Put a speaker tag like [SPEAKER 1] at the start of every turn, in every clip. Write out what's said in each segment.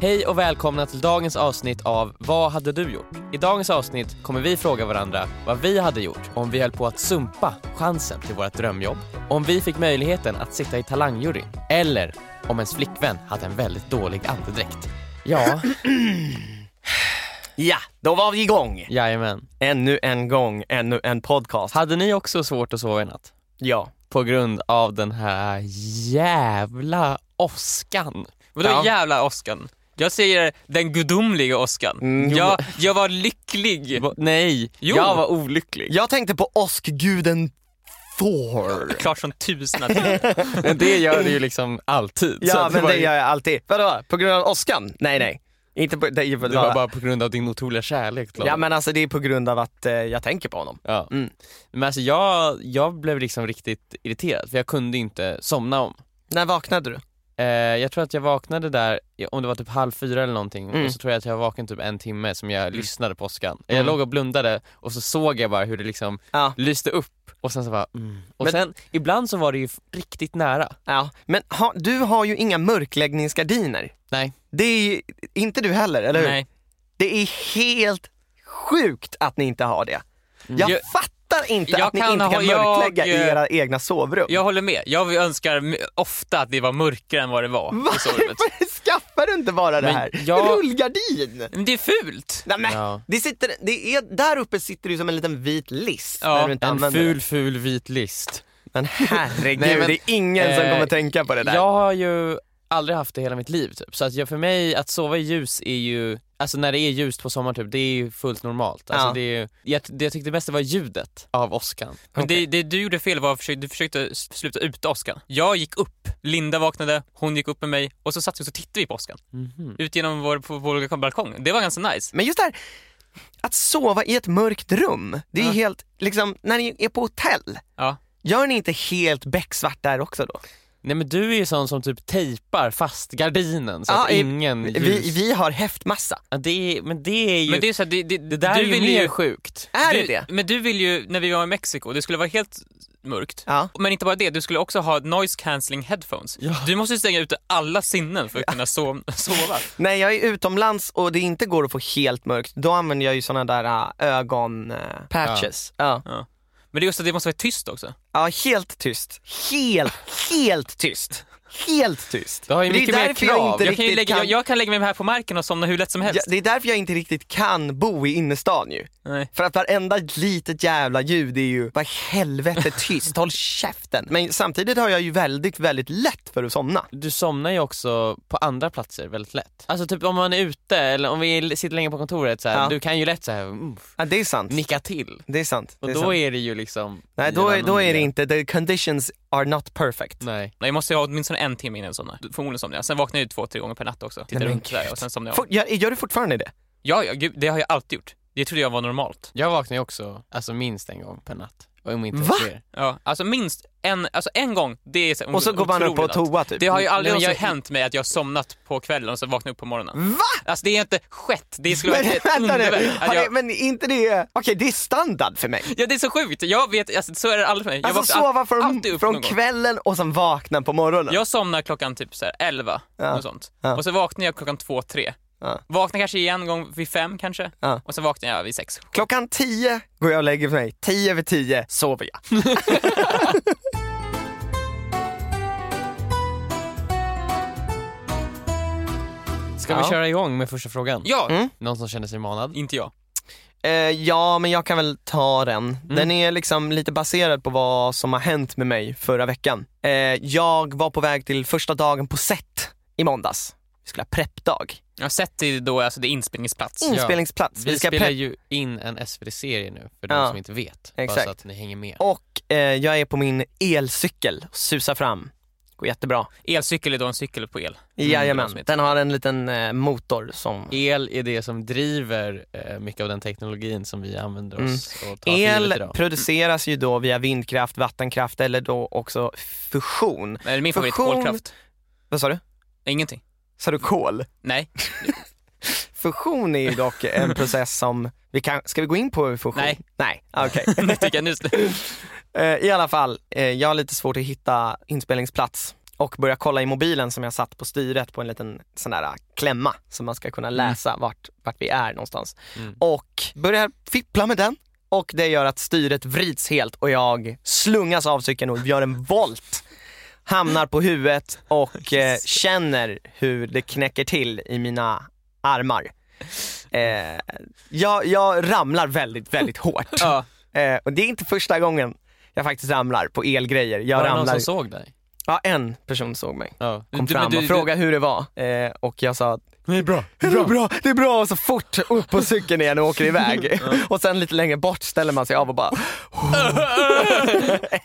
[SPEAKER 1] Hej och välkomna till dagens avsnitt av Vad hade du gjort? I dagens avsnitt kommer vi fråga varandra vad vi hade gjort om vi höll på att sumpa chansen till vårt drömjobb, om vi fick möjligheten att sitta i talangjuryn eller om ens flickvän hade en väldigt dålig andedräkt. Ja,
[SPEAKER 2] Ja, då var vi igång!
[SPEAKER 1] jajamän.
[SPEAKER 2] Ännu en gång, ännu en podcast.
[SPEAKER 1] Hade ni också svårt att sova i natt?
[SPEAKER 2] Ja.
[SPEAKER 1] På grund av den här jävla åskan.
[SPEAKER 3] Vadå
[SPEAKER 2] Ja.
[SPEAKER 3] jävla åskan? Jag säger den gudomliga åskan.
[SPEAKER 2] Mm, jo.
[SPEAKER 3] jag, jag var lycklig.
[SPEAKER 1] Va- Nej,
[SPEAKER 3] Jo.
[SPEAKER 1] jag var olycklig.
[SPEAKER 2] Jag tänkte på åskguden Thor.
[SPEAKER 3] Klart som tusen att jag-
[SPEAKER 1] Men det gör du ju liksom alltid. Så
[SPEAKER 2] Ja,
[SPEAKER 1] att
[SPEAKER 2] men
[SPEAKER 1] var
[SPEAKER 2] det
[SPEAKER 1] ju-
[SPEAKER 2] gör jag alltid. Vadå, på grund av åskan? Nej, nej. Inte på, det, är
[SPEAKER 1] Det var bara på grund av din otroliga kärlek till
[SPEAKER 2] Ja,
[SPEAKER 1] honom.
[SPEAKER 2] men alltså det är på grund av att eh, jag tänker på honom.
[SPEAKER 1] Ja.
[SPEAKER 2] Mm.
[SPEAKER 1] Men alltså jag, jag blev liksom riktigt irriterad för jag kunde inte somna om.
[SPEAKER 2] När vaknade du?
[SPEAKER 1] Eh, jag tror att jag vaknade där, om det var typ halv fyra eller någonting,
[SPEAKER 2] Mm.
[SPEAKER 1] och så tror jag att jag vaknade typ en timme som jag lyssnade på åskan. Jag
[SPEAKER 2] Mm.
[SPEAKER 1] låg och blundade och så såg jag bara hur det liksom
[SPEAKER 2] Ja.
[SPEAKER 1] lyste upp och sen så bara mm. Och
[SPEAKER 2] Men-
[SPEAKER 1] sen, ibland så var det ju f- riktigt nära.
[SPEAKER 2] Ja. Men ha, du har ju inga mörkläggningsgardiner.
[SPEAKER 1] Nej.
[SPEAKER 2] Det är ju, inte du heller, eller hur?
[SPEAKER 3] Nej.
[SPEAKER 2] Det är helt sjukt att ni inte har det.
[SPEAKER 1] Mm.
[SPEAKER 2] Jag
[SPEAKER 3] Jag-
[SPEAKER 2] fattar inte
[SPEAKER 3] jag
[SPEAKER 2] att ni
[SPEAKER 3] kan
[SPEAKER 2] inte
[SPEAKER 3] ha-
[SPEAKER 2] kan
[SPEAKER 3] jag-
[SPEAKER 2] mörklägga i era egna sovrum.
[SPEAKER 3] Jag håller med. Jag önskar m- ofta att det var mörkare än vad det var i sovrummet.
[SPEAKER 2] Varför skaffar du inte bara det
[SPEAKER 1] Men
[SPEAKER 2] här?
[SPEAKER 1] jag-
[SPEAKER 2] Rullgardin!
[SPEAKER 3] Men det är fult.
[SPEAKER 2] Nej, men,
[SPEAKER 1] Ja.
[SPEAKER 2] det sitter, det är, där uppe sitter det som en liten vit list
[SPEAKER 3] Ja,
[SPEAKER 2] när du inte
[SPEAKER 1] En
[SPEAKER 2] använder
[SPEAKER 1] ful,
[SPEAKER 2] det.
[SPEAKER 1] ful vit list.
[SPEAKER 2] Men herregud,
[SPEAKER 1] Nej, men,
[SPEAKER 2] det är ingen som
[SPEAKER 1] eh,
[SPEAKER 2] kommer tänka på det där.
[SPEAKER 1] Jag har ju aldrig haft det hela mitt liv typ. Så att jag, för mig, att sova i ljus är ju, alltså när det är ljust på sommaren typ, det är ju fullt normalt. Alltså,
[SPEAKER 2] Ja.
[SPEAKER 1] det är ju, jag, det jag tyckte mest det var ljudet av åskan.
[SPEAKER 3] Men det, det du gjorde fel var att försöka- du försökte s- sluta ut åskan. Jag gick upp, Linda vaknade, hon gick upp med mig och så satt vi och så tittade vi på åskan. Ut genom vår, på vår balkong. Det var ganska nice.
[SPEAKER 2] Men just det här, att sova i ett mörkt rum, det är ju
[SPEAKER 3] Ja.
[SPEAKER 2] helt, liksom, när ni är på hotell,
[SPEAKER 3] Ja.
[SPEAKER 2] gör ni inte helt becksvart där också då?
[SPEAKER 1] Nej men du är ju sån som typ tejpar fast gardinen så
[SPEAKER 2] Ja,
[SPEAKER 1] att
[SPEAKER 2] i-
[SPEAKER 1] ingen ljus...
[SPEAKER 2] Vi, vi har häftmassa.
[SPEAKER 1] Ja, det är, men det är ju,
[SPEAKER 3] Men
[SPEAKER 1] det,
[SPEAKER 3] det är så här, det, det,
[SPEAKER 1] där
[SPEAKER 3] du
[SPEAKER 1] är ju
[SPEAKER 3] vill Äh.
[SPEAKER 1] mer sjukt.
[SPEAKER 2] Är
[SPEAKER 3] du,
[SPEAKER 2] det det?
[SPEAKER 3] Men du vill ju, när vi var i Mexiko, det skulle vara helt mörkt.
[SPEAKER 2] Ja.
[SPEAKER 3] Men inte bara det, du skulle också ha noise cancelling headphones.
[SPEAKER 1] Ja.
[SPEAKER 3] Du måste stänga ute alla sinnen för att kunna so- sova.
[SPEAKER 2] När jag är utomlands och det inte går att få helt mörkt, då använder jag ju såna där ögonpatches. Ja.
[SPEAKER 3] Men det är just att det måste vara tyst också.
[SPEAKER 2] Ja, helt tyst. Helt, helt tyst. Helt tyst.
[SPEAKER 1] Det har ju
[SPEAKER 2] Men är
[SPEAKER 1] mycket mer
[SPEAKER 2] därför
[SPEAKER 1] krav.
[SPEAKER 2] Jag inte
[SPEAKER 3] Jag kan, ju
[SPEAKER 2] riktigt
[SPEAKER 3] lägga,
[SPEAKER 2] kan,
[SPEAKER 3] jag, jag kan lägga mig här på marken och somna hur lätt som helst.
[SPEAKER 2] Ja, det är därför jag inte riktigt kan bo i innerstan ju.
[SPEAKER 3] Nej.
[SPEAKER 2] För att varenda litet jävla ljud är ju, vad i helvete tyst, håll käften. Men samtidigt har jag ju väldigt, väldigt lätt för att somna.
[SPEAKER 1] Du somnar ju också på andra platser väldigt lätt. Alltså typ om man är ute eller om vi sitter länge på kontoret så här,
[SPEAKER 2] Ja.
[SPEAKER 1] du kan ju lätt så här, mm,
[SPEAKER 2] Ja, det är sant.
[SPEAKER 1] nicka till.
[SPEAKER 2] Det är sant.
[SPEAKER 1] Och
[SPEAKER 2] det är
[SPEAKER 1] då
[SPEAKER 2] sant.
[SPEAKER 1] är det ju liksom
[SPEAKER 2] Nej, då, är- då är det inte, the conditions are not perfect.
[SPEAKER 1] Nej.
[SPEAKER 3] Nej, Jag måste ju ha åtminstone en timme innan jag somnar. Förmodligen somnar jag. Sen vaknar jag ju två, tre gånger per natt också. Tittar
[SPEAKER 2] men
[SPEAKER 3] runt där
[SPEAKER 2] gud.
[SPEAKER 3] och sen somnar jag.
[SPEAKER 2] Får- Gör, gör du fortfarande det?
[SPEAKER 3] Ja, ja, gud, det har jag alltid gjort. Det trodde jag var normalt.
[SPEAKER 1] Jag vaknar ju också alltså minst en gång per natt. Om inte
[SPEAKER 2] Va?
[SPEAKER 1] fler.
[SPEAKER 3] Ja, alltså minst en, alltså en gång, det är så
[SPEAKER 2] Och så går man upp på
[SPEAKER 3] otroligt allt.
[SPEAKER 2] toa typ?
[SPEAKER 3] Det har ju aldrig
[SPEAKER 1] Nej, men jag-
[SPEAKER 3] någonsin hänt mig att jag har somnat på kvällen och så vaknat upp på morgonen.
[SPEAKER 2] Va?
[SPEAKER 3] Alltså det är inte skett, det skulle vara
[SPEAKER 2] Men
[SPEAKER 3] ett
[SPEAKER 2] vänta nu,
[SPEAKER 3] underverk.
[SPEAKER 2] har
[SPEAKER 3] Att
[SPEAKER 2] det,
[SPEAKER 3] Alltså, jag,
[SPEAKER 2] men inte det, okej det är standard för mig.
[SPEAKER 3] ja det är så sjukt, jag vet, alltså, så är det aldrig för mig. Jag
[SPEAKER 2] alltså
[SPEAKER 3] vaknar all-
[SPEAKER 2] sova från,
[SPEAKER 3] alltid upp
[SPEAKER 2] från
[SPEAKER 3] någon gång.
[SPEAKER 2] kvällen och sen vakna på morgonen.
[SPEAKER 3] Jag somnar klockan typ så här 11,
[SPEAKER 2] Ja.
[SPEAKER 3] något sånt.
[SPEAKER 2] Ja.
[SPEAKER 3] Och så vaknar jag klockan 2, 3.
[SPEAKER 2] Ja.
[SPEAKER 3] Vaknar kanske igen en gång vid 5 kanske.
[SPEAKER 2] Ja.
[SPEAKER 3] Och så vaknar jag vid 6.
[SPEAKER 2] Klockan 10 går jag och lägger mig, 10 över 10 sover jag.
[SPEAKER 1] Ska
[SPEAKER 2] Ja. Mm.
[SPEAKER 1] vi köra igång med första frågan?
[SPEAKER 3] Ja,
[SPEAKER 1] Någon som känner sig manad?
[SPEAKER 3] inte jag.
[SPEAKER 2] Eh, ja men jag kan väl ta den.
[SPEAKER 3] Mm.
[SPEAKER 2] Den är liksom lite baserad på vad som har hänt med mig förra veckan. Eh, jag var på väg till första dagen på set i måndags. Vi skulle ha preppdag.
[SPEAKER 3] Jag har sett det då, alltså det är inspelningsplats.
[SPEAKER 2] Inspelningsplats.
[SPEAKER 1] Vi,
[SPEAKER 2] ska
[SPEAKER 1] spelar
[SPEAKER 2] prepp-
[SPEAKER 1] ju in en SVT-serie nu för de
[SPEAKER 2] Ja.
[SPEAKER 1] som inte vet. Bara
[SPEAKER 2] Exakt.
[SPEAKER 1] så att ni hänger med.
[SPEAKER 2] Och eh, jag är på min elcykel och susar fram. Går jättebra.
[SPEAKER 3] Mm, Elcykel är då en cykel på el.
[SPEAKER 2] Jajamän.
[SPEAKER 3] Mm,
[SPEAKER 2] Den har en liten eh, motor som...
[SPEAKER 1] El är det som driver eh, mycket av den teknologin som vi använder oss och tar för givet
[SPEAKER 2] El
[SPEAKER 1] idag.
[SPEAKER 2] produceras ju då via vindkraft, vattenkraft eller då också fusion.
[SPEAKER 3] Nej, min favorit,
[SPEAKER 2] Fusion-
[SPEAKER 3] kolkraft.
[SPEAKER 2] Vad sa du?
[SPEAKER 3] Ingenting.
[SPEAKER 2] Sa du kol?
[SPEAKER 3] Nej,
[SPEAKER 2] Fusion är ju dock en process som, vi kan, ska vi gå in på fusion?
[SPEAKER 3] Nej.
[SPEAKER 2] Nej, okej.
[SPEAKER 3] det tycker jag nu.
[SPEAKER 2] Eh, I alla fall, eh, jag har lite svårt att hitta inspelningsplats och började kolla i mobilen som jag satt på styret på en liten sån där eh, klämma som man ska kunna läsa vart, vart vi är någonstans.
[SPEAKER 1] Mm.
[SPEAKER 2] Och började fippla med den och det gör att styret vrids helt och jag slungas av cykeln och gör en volt. Hamnar på huvudet och eh, känner hur det knäcker till i mina armar. Eh, jag, jag ramlar väldigt, väldigt hårt.
[SPEAKER 1] Ja.
[SPEAKER 2] Eh, och det är inte första gången jag faktiskt ramlar på elgrejer. Jag
[SPEAKER 1] Var det någon
[SPEAKER 2] ramlar...
[SPEAKER 1] som såg dig?
[SPEAKER 2] Ja, en person såg mig.
[SPEAKER 1] Ja.
[SPEAKER 2] Kom
[SPEAKER 3] Du- men
[SPEAKER 2] fram
[SPEAKER 3] du-
[SPEAKER 2] och
[SPEAKER 3] du-
[SPEAKER 2] frågade hur det var. Eh, och jag sa,
[SPEAKER 1] Det är bra.
[SPEAKER 2] det är bra, det är bra. Och så fort upp på cykeln igen och åker iväg. och sen lite längre bort ställer man sig av och bara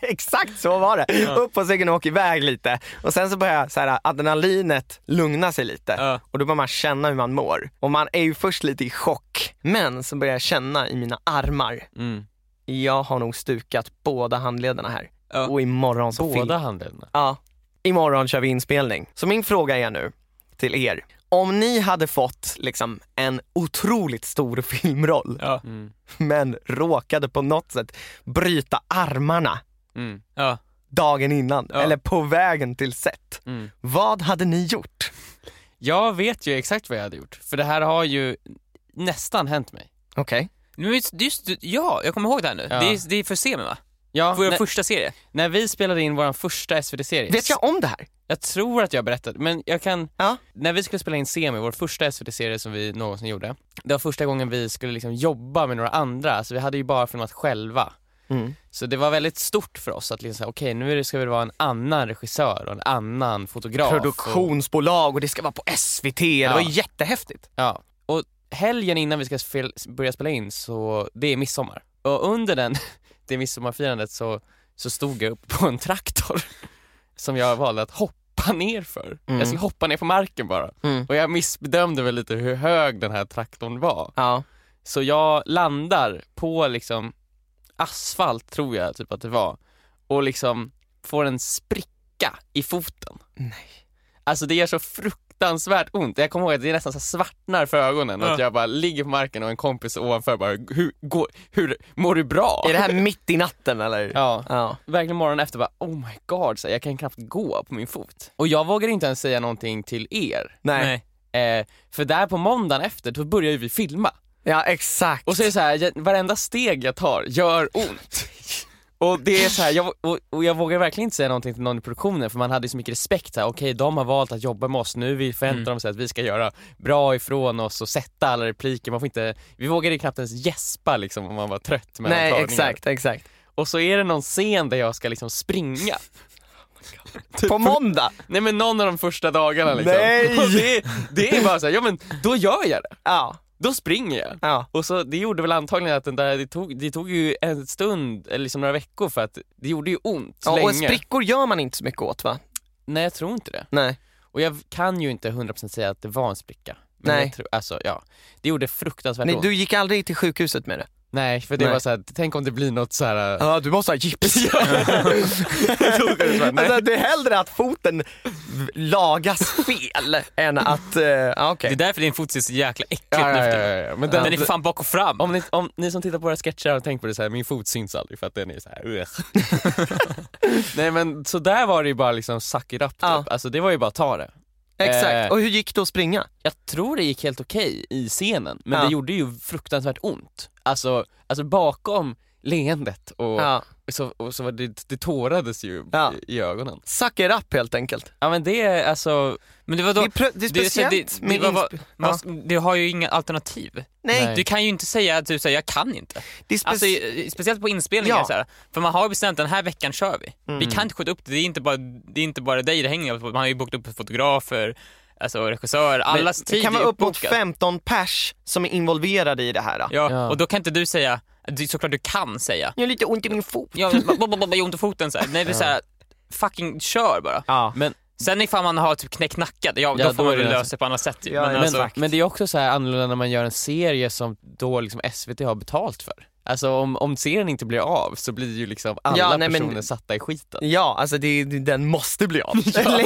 [SPEAKER 2] Exakt så var det. Upp på cykeln och åker iväg lite. Och sen så börjar så här, adrenalinet lugna sig lite.
[SPEAKER 3] Ja.
[SPEAKER 2] Och då börjar man känna hur man mår. Och man är ju först lite i chock. Men så börjar jag känna i mina armar.
[SPEAKER 1] Mm.
[SPEAKER 2] Jag har nog stukat båda handlederna här.
[SPEAKER 3] Ja.
[SPEAKER 2] Och imorgon så film-
[SPEAKER 1] Båda handlederna.
[SPEAKER 2] Ja, imorgon kör vi inspelning. Så min fråga är nu till er. Om ni hade fått liksom, en otroligt stor filmroll
[SPEAKER 3] Ja.
[SPEAKER 1] Mm.
[SPEAKER 2] men råkade på något sätt bryta armarna
[SPEAKER 1] Mm.
[SPEAKER 3] Ja.
[SPEAKER 2] dagen innan
[SPEAKER 3] Ja.
[SPEAKER 2] eller på vägen till set.
[SPEAKER 1] Mm.
[SPEAKER 2] Vad hade ni gjort?
[SPEAKER 1] Jag vet ju exakt vad jag hade gjort, för det här har ju nästan hänt mig.
[SPEAKER 2] Okej.
[SPEAKER 3] Nu, just, just, ja, jag kommer ihåg det här nu.
[SPEAKER 1] Ja.
[SPEAKER 3] Det, är, det är för semin va?
[SPEAKER 1] Ja,
[SPEAKER 3] Vår
[SPEAKER 1] när,
[SPEAKER 3] första serie.
[SPEAKER 1] när vi spelade in vår första SVT-serie,
[SPEAKER 2] Vet jag om det här?
[SPEAKER 1] jag tror att jag berättade, men jag kan...
[SPEAKER 2] Ja.
[SPEAKER 1] När vi skulle spela in Semi, vår första SVT-serie som vi någonsin gjorde, det var första gången vi skulle liksom jobba med några andra, så vi hade ju bara filmat själva.
[SPEAKER 2] Mm.
[SPEAKER 1] Så det var väldigt stort för oss att liksom säga, okej nu är det- ska det vara en annan regissör och en annan fotograf. Och,
[SPEAKER 2] Produktionsbolag och det ska vara på SVT. Det var ju jättehäftigt.
[SPEAKER 1] ja. och helgen innan vi ska spel, börja spela in så, det är midsommar. Och under den, det midsommarfirandet så, så stod jag upp på en traktor som jag valde att hoppa ner för.
[SPEAKER 2] Mm.
[SPEAKER 1] Jag skulle hoppa ner på marken bara.
[SPEAKER 2] Mm.
[SPEAKER 1] Och jag missbedömde väl lite hur hög den här traktorn var.
[SPEAKER 2] Ja.
[SPEAKER 1] Så jag landar på liksom asfalt tror jag typ att det var och liksom får en spricka i foten.
[SPEAKER 2] Nej.
[SPEAKER 1] Alltså det gör så fruktansvärt ont. Jag kommer ihåg att det är nästan så här svartnar för ögonen
[SPEAKER 3] Ja.
[SPEAKER 1] att jag bara ligger på marken och en kompis ovanför bara hur, går, hur mår du bra?
[SPEAKER 2] Är det här mitt i natten eller?
[SPEAKER 1] Ja,
[SPEAKER 2] ja.
[SPEAKER 1] verkligen morgonen efter bara oh my god, så här, jag kan knappt gå på min fot. Och jag vågar inte ens säga någonting till er.
[SPEAKER 2] Nej.
[SPEAKER 1] Eh, för där på måndagen efter då börjar ju vi filma.
[SPEAKER 2] Ja exakt.
[SPEAKER 1] Och så är det så här, jag- varenda steg jag tar gör ont. Och det är så här, jag, och, och jag vågar verkligen inte säga någonting till någon i produktionen för man hade ju så mycket respekt här. okej de har valt att jobba med oss nu, vi förväntar
[SPEAKER 3] Mm.
[SPEAKER 1] dem sig att vi ska göra bra ifrån oss och sätta alla repliker, man får inte, vi vågade ju knappt ens gäspa liksom om man var trött mellan
[SPEAKER 2] Nej
[SPEAKER 1] tagningar.
[SPEAKER 2] exakt, exakt.
[SPEAKER 1] Och så är det någon scen där jag ska liksom springa.
[SPEAKER 2] På måndag.
[SPEAKER 1] Nej men någon av de första dagarna liksom.
[SPEAKER 2] Nej!
[SPEAKER 1] Och det, det är bara så här, ja men då gör jag det,
[SPEAKER 2] Ja,
[SPEAKER 1] då springer jag.
[SPEAKER 2] ja.
[SPEAKER 1] Och så, det gjorde väl antagligen att den där, det tog, det tog ju en stund, eller liksom några veckor för att det gjorde ju ont
[SPEAKER 2] ja och
[SPEAKER 1] länge.
[SPEAKER 2] sprickor gör man inte så mycket åt va?
[SPEAKER 1] Nej jag tror inte det.
[SPEAKER 2] Nej.
[SPEAKER 1] Och jag kan ju inte 100% säga att det var en spricka. Men
[SPEAKER 2] Nej.
[SPEAKER 1] Jag tror, alltså ja, det gjorde fruktansvärt
[SPEAKER 2] Nej
[SPEAKER 1] ont.
[SPEAKER 2] du gick aldrig till sjukhuset med det?
[SPEAKER 1] Nej för det
[SPEAKER 2] Nej.
[SPEAKER 1] var såhär, tänk om det blir något äh, såhär,
[SPEAKER 2] Ja, du måste ha gips. alltså, det är hellre att foten v- lagas fel än att, eh, ja okej.
[SPEAKER 3] Det är därför din fot ser så jävla äckligt
[SPEAKER 1] ja,
[SPEAKER 3] nu
[SPEAKER 1] ja,
[SPEAKER 3] för
[SPEAKER 1] ja,
[SPEAKER 3] tiden.
[SPEAKER 1] ja, ja. Men den,
[SPEAKER 3] Den är fan bak och fram.
[SPEAKER 1] om, ni, om ni som tittar på våra sketcher har tänkt på det så här, min fot syns aldrig för att den är så här. ugh. Nej men så där var det ju bara liksom suck it up typ.
[SPEAKER 2] Ja.
[SPEAKER 1] Alltså det var ju bara ta det.
[SPEAKER 2] Exakt,
[SPEAKER 1] eh.
[SPEAKER 2] och hur gick det att springa?
[SPEAKER 1] Jag tror det gick helt okej i scenen, men
[SPEAKER 2] Ja.
[SPEAKER 1] det gjorde ju fruktansvärt ont. Alltså, alltså bakom leendet och,
[SPEAKER 2] Ja.
[SPEAKER 1] så, och så var det, det tårades ju
[SPEAKER 2] Ja.
[SPEAKER 1] i, i ögonen.
[SPEAKER 2] Suck it up helt enkelt.
[SPEAKER 1] Ja men det är alltså,
[SPEAKER 3] Men det var
[SPEAKER 2] Det
[SPEAKER 3] då...
[SPEAKER 2] är, prö- det är speciellt
[SPEAKER 3] det- det
[SPEAKER 2] med
[SPEAKER 3] var-
[SPEAKER 2] insp-
[SPEAKER 3] Man,
[SPEAKER 2] ja.
[SPEAKER 3] Du har ju inga alternativ.
[SPEAKER 2] Nej,
[SPEAKER 1] Nej.
[SPEAKER 3] Du kan ju inte säga att du säger jag kan inte.
[SPEAKER 2] det är speci-
[SPEAKER 3] Alltså, i- i- speciellt på inspelningar.
[SPEAKER 2] Ja. Mm.
[SPEAKER 3] Så här, för man har ju bestämt den här veckan kör vi. Vi kan inte skjuta upp det. Det är inte bara, det är inte bara dig det hänger på. Man har ju bokat upp fotografer, alltså regissör. Allas
[SPEAKER 2] det
[SPEAKER 3] tid
[SPEAKER 2] kan vara
[SPEAKER 3] är
[SPEAKER 2] uppåt
[SPEAKER 3] uppbokad.
[SPEAKER 2] 15 pers som är involverade i det här. Ja.
[SPEAKER 3] Ja,
[SPEAKER 1] Ja.
[SPEAKER 3] Och då kan inte du säga, du, såklart du kan säga.
[SPEAKER 2] Jag har lite ont i min fot.
[SPEAKER 3] Ja, men bara, bara, bara, bara, jag har ont i foten så här. Nej, det är så här, fucking kör bara.
[SPEAKER 2] Ja.
[SPEAKER 1] men,
[SPEAKER 3] Sen ifall man har typ knäcknackad, ja,
[SPEAKER 1] Ja,
[SPEAKER 3] då får
[SPEAKER 1] då
[SPEAKER 3] man
[SPEAKER 1] är det alltså-
[SPEAKER 3] väl lösa
[SPEAKER 1] löst.
[SPEAKER 3] det på annat sätt. ju.
[SPEAKER 2] Ja,
[SPEAKER 3] men
[SPEAKER 2] ja,
[SPEAKER 3] alltså,
[SPEAKER 2] exakt.
[SPEAKER 1] men det är också så här annorlunda när man gör en serie som då liksom SVT har betalt för. Alltså om, om serien inte blir av så blir ju liksom alla
[SPEAKER 2] Ja, nej, men-
[SPEAKER 1] personer satta i skiten.
[SPEAKER 2] Ja, alltså det, det, den måste bli av.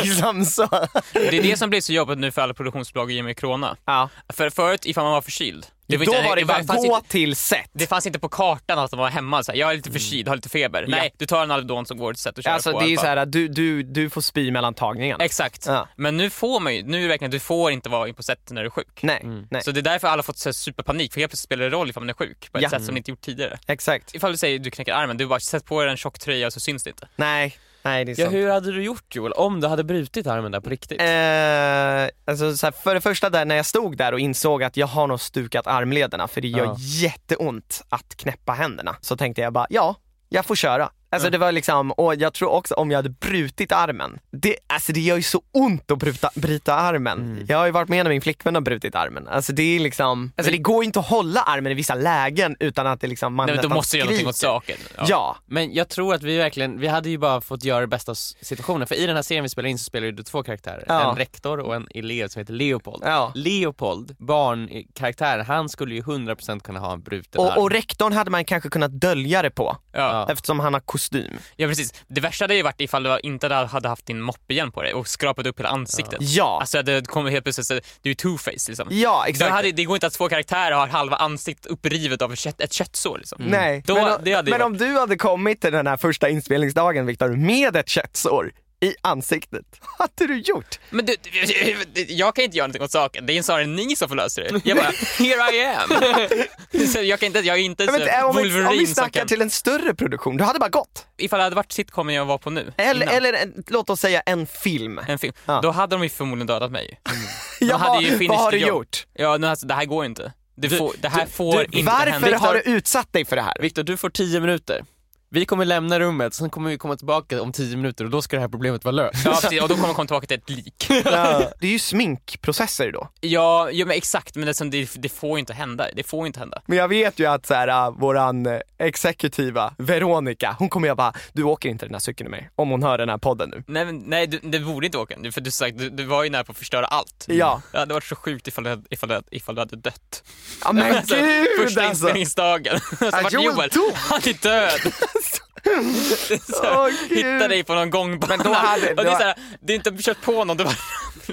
[SPEAKER 2] liksom så.
[SPEAKER 3] det är det som blir så jobbigt nu för alla produktionsbolag i och med corona.
[SPEAKER 2] Ja.
[SPEAKER 3] För förut, ifall man var förkyld, Det var
[SPEAKER 2] Då
[SPEAKER 3] inte-
[SPEAKER 2] var det bara
[SPEAKER 3] fanns
[SPEAKER 2] gå
[SPEAKER 3] inte-
[SPEAKER 2] till set.
[SPEAKER 3] Det fanns inte på kartan att de var hemma. Så här, jag är lite förkyld, har lite feber. Nej, du tar en Alvedon som går till sätt och kör
[SPEAKER 2] Mm. alltså
[SPEAKER 3] på.
[SPEAKER 2] det är ju
[SPEAKER 3] bara-
[SPEAKER 2] så här, du, du, du får spy mellan tagningarna.
[SPEAKER 3] Exakt.
[SPEAKER 2] Ja.
[SPEAKER 3] Men nu får man ju, nu är det verkligen, du får inte vara in på set när du är sjuk.
[SPEAKER 2] Nej, nej.
[SPEAKER 3] Så det är därför alla har fått så här superpanik, för helt plötsligt spelar det roll ifall man är sjuk på ett
[SPEAKER 2] Ja.
[SPEAKER 3] sätt som det inte gjort tidigare.
[SPEAKER 2] Exakt.
[SPEAKER 3] Ifall du säger du knäcker armen, du bara sätt på dig en tjock tröja och så syns det inte.
[SPEAKER 2] Nej, nej det är
[SPEAKER 1] Ja,
[SPEAKER 2] sant.
[SPEAKER 1] hur hade du gjort Joel om du hade brutit armen där på riktigt?
[SPEAKER 2] Eh, alltså så här, för det första där när jag stod där och insåg att jag har nog stukat armlederna för det gör
[SPEAKER 1] Ja.
[SPEAKER 2] jätteont att knäppa händerna. Så tänkte jag bara, ja, jag får köra. Alltså det var liksom, och jag tror också om jag hade brutit armen. Det, alltså det gör ju så ont att bruta, bryta armen.
[SPEAKER 3] Mm.
[SPEAKER 2] Jag har ju varit med när min flickvän har brutit armen. Alltså det är liksom, alltså det går ju inte att hålla armen i vissa lägen utan att det liksom, man
[SPEAKER 3] Nej, men då
[SPEAKER 2] nästan
[SPEAKER 3] måste du göra någonting åt
[SPEAKER 2] skriker.
[SPEAKER 3] saken.
[SPEAKER 2] Ja,
[SPEAKER 1] Men jag tror att vi verkligen, vi hade ju bara fått göra det bästa av s- situationen. För i den här serien vi spelar in så spelar ju du två karaktärer.
[SPEAKER 2] Ja.
[SPEAKER 1] En rektor och en elev som heter Leopold.
[SPEAKER 2] Ja.
[SPEAKER 1] Leopold, barnkaraktären, han skulle ju 100% kunna ha en bruten
[SPEAKER 2] och,
[SPEAKER 1] arm.
[SPEAKER 2] och rektorn hade man kanske kunnat dölja det på
[SPEAKER 3] Ja.
[SPEAKER 1] Ja.
[SPEAKER 2] eftersom han har kostym.
[SPEAKER 3] ja, precis. Det värsta hade ju varit ifall du inte hade haft din moppe igen på dig och skrapat upp hela ansiktet.
[SPEAKER 2] Ja,
[SPEAKER 3] Alltså det kommer helt plötsligt, så- du är two-face liksom.
[SPEAKER 2] ja
[SPEAKER 3] Det,
[SPEAKER 2] exakt.
[SPEAKER 3] hade, det går inte att två karaktärer har halva ansiktet upprivet av ett, kött, ett köttsår liksom.
[SPEAKER 2] Mm. Nej,
[SPEAKER 3] Då-
[SPEAKER 2] men,
[SPEAKER 3] det hade ju
[SPEAKER 2] men
[SPEAKER 3] varit-
[SPEAKER 2] om du hade kommit till den här första inspelningsdagen Viktor med ett köttsår i ansiktet, hade du gjort?
[SPEAKER 3] Men du, jag kan inte göra någonting åt saken. Det är snarare ni som får lösa det. Jag bara, here I am. Så jag, kan inte, jag är inte
[SPEAKER 2] Men,
[SPEAKER 3] så
[SPEAKER 2] om, vi, om vi
[SPEAKER 3] Wolverine som
[SPEAKER 2] snackar typ-
[SPEAKER 3] kan...
[SPEAKER 2] till en större produktion, du hade bara gått.
[SPEAKER 3] Ifall det hade varit sitcomen jag var på nu,
[SPEAKER 2] Eller,
[SPEAKER 3] innan,
[SPEAKER 2] eller en- låt oss säga en film.
[SPEAKER 3] en film,
[SPEAKER 2] Ja.
[SPEAKER 3] då hade de ju förmodligen dödat mig.
[SPEAKER 2] Jag
[SPEAKER 3] hade
[SPEAKER 2] bara,
[SPEAKER 3] ju finished
[SPEAKER 2] vad har
[SPEAKER 3] the
[SPEAKER 2] du
[SPEAKER 3] job.
[SPEAKER 2] gjort?
[SPEAKER 3] Ja, nu, alltså, det här går inte. Det, får, det här får
[SPEAKER 2] Du,
[SPEAKER 3] inte
[SPEAKER 2] varför
[SPEAKER 3] hända.
[SPEAKER 2] har du utsatt dig för det här?
[SPEAKER 1] Viktor, du får 10 minuter. Vi kommer lämna rummet, sen kommer vi komma tillbaka om 10 minuter och då ska det här problemet vara löst.
[SPEAKER 3] Ja, precis, och då kommer de komma tillbaka till ett lik.
[SPEAKER 2] Ja. Det är ju sminkprocesser då.
[SPEAKER 3] Ja, ja men exakt, men det, som- det, det får ju inte hända. Det får inte hända.
[SPEAKER 2] Men jag vet ju att så här, äh, våran äh, exekutiva Veronica, hon kommer jag bara, du åker inte den här cykeln med mig om hon hör den här podden nu.
[SPEAKER 3] Nej, men, nej du, det borde inte åka. För du, sagt, du, du var ju nära på att förstöra allt.
[SPEAKER 2] Ja.
[SPEAKER 3] Det hade varit så sjukt ifall du, ifall du, ifall du hade dött.
[SPEAKER 2] Ja men
[SPEAKER 3] Alltså,
[SPEAKER 2] gud
[SPEAKER 3] första
[SPEAKER 2] alltså!
[SPEAKER 3] inspelningsdagen. Så vart
[SPEAKER 2] Joel
[SPEAKER 3] Joel,
[SPEAKER 2] dog.
[SPEAKER 3] han är död. så,
[SPEAKER 2] Åh, Gud.
[SPEAKER 3] hitta dig på någon gångbana.
[SPEAKER 2] Men då hade-
[SPEAKER 3] och det, är
[SPEAKER 2] då-
[SPEAKER 3] så här, det är inte kört på någon. Det var,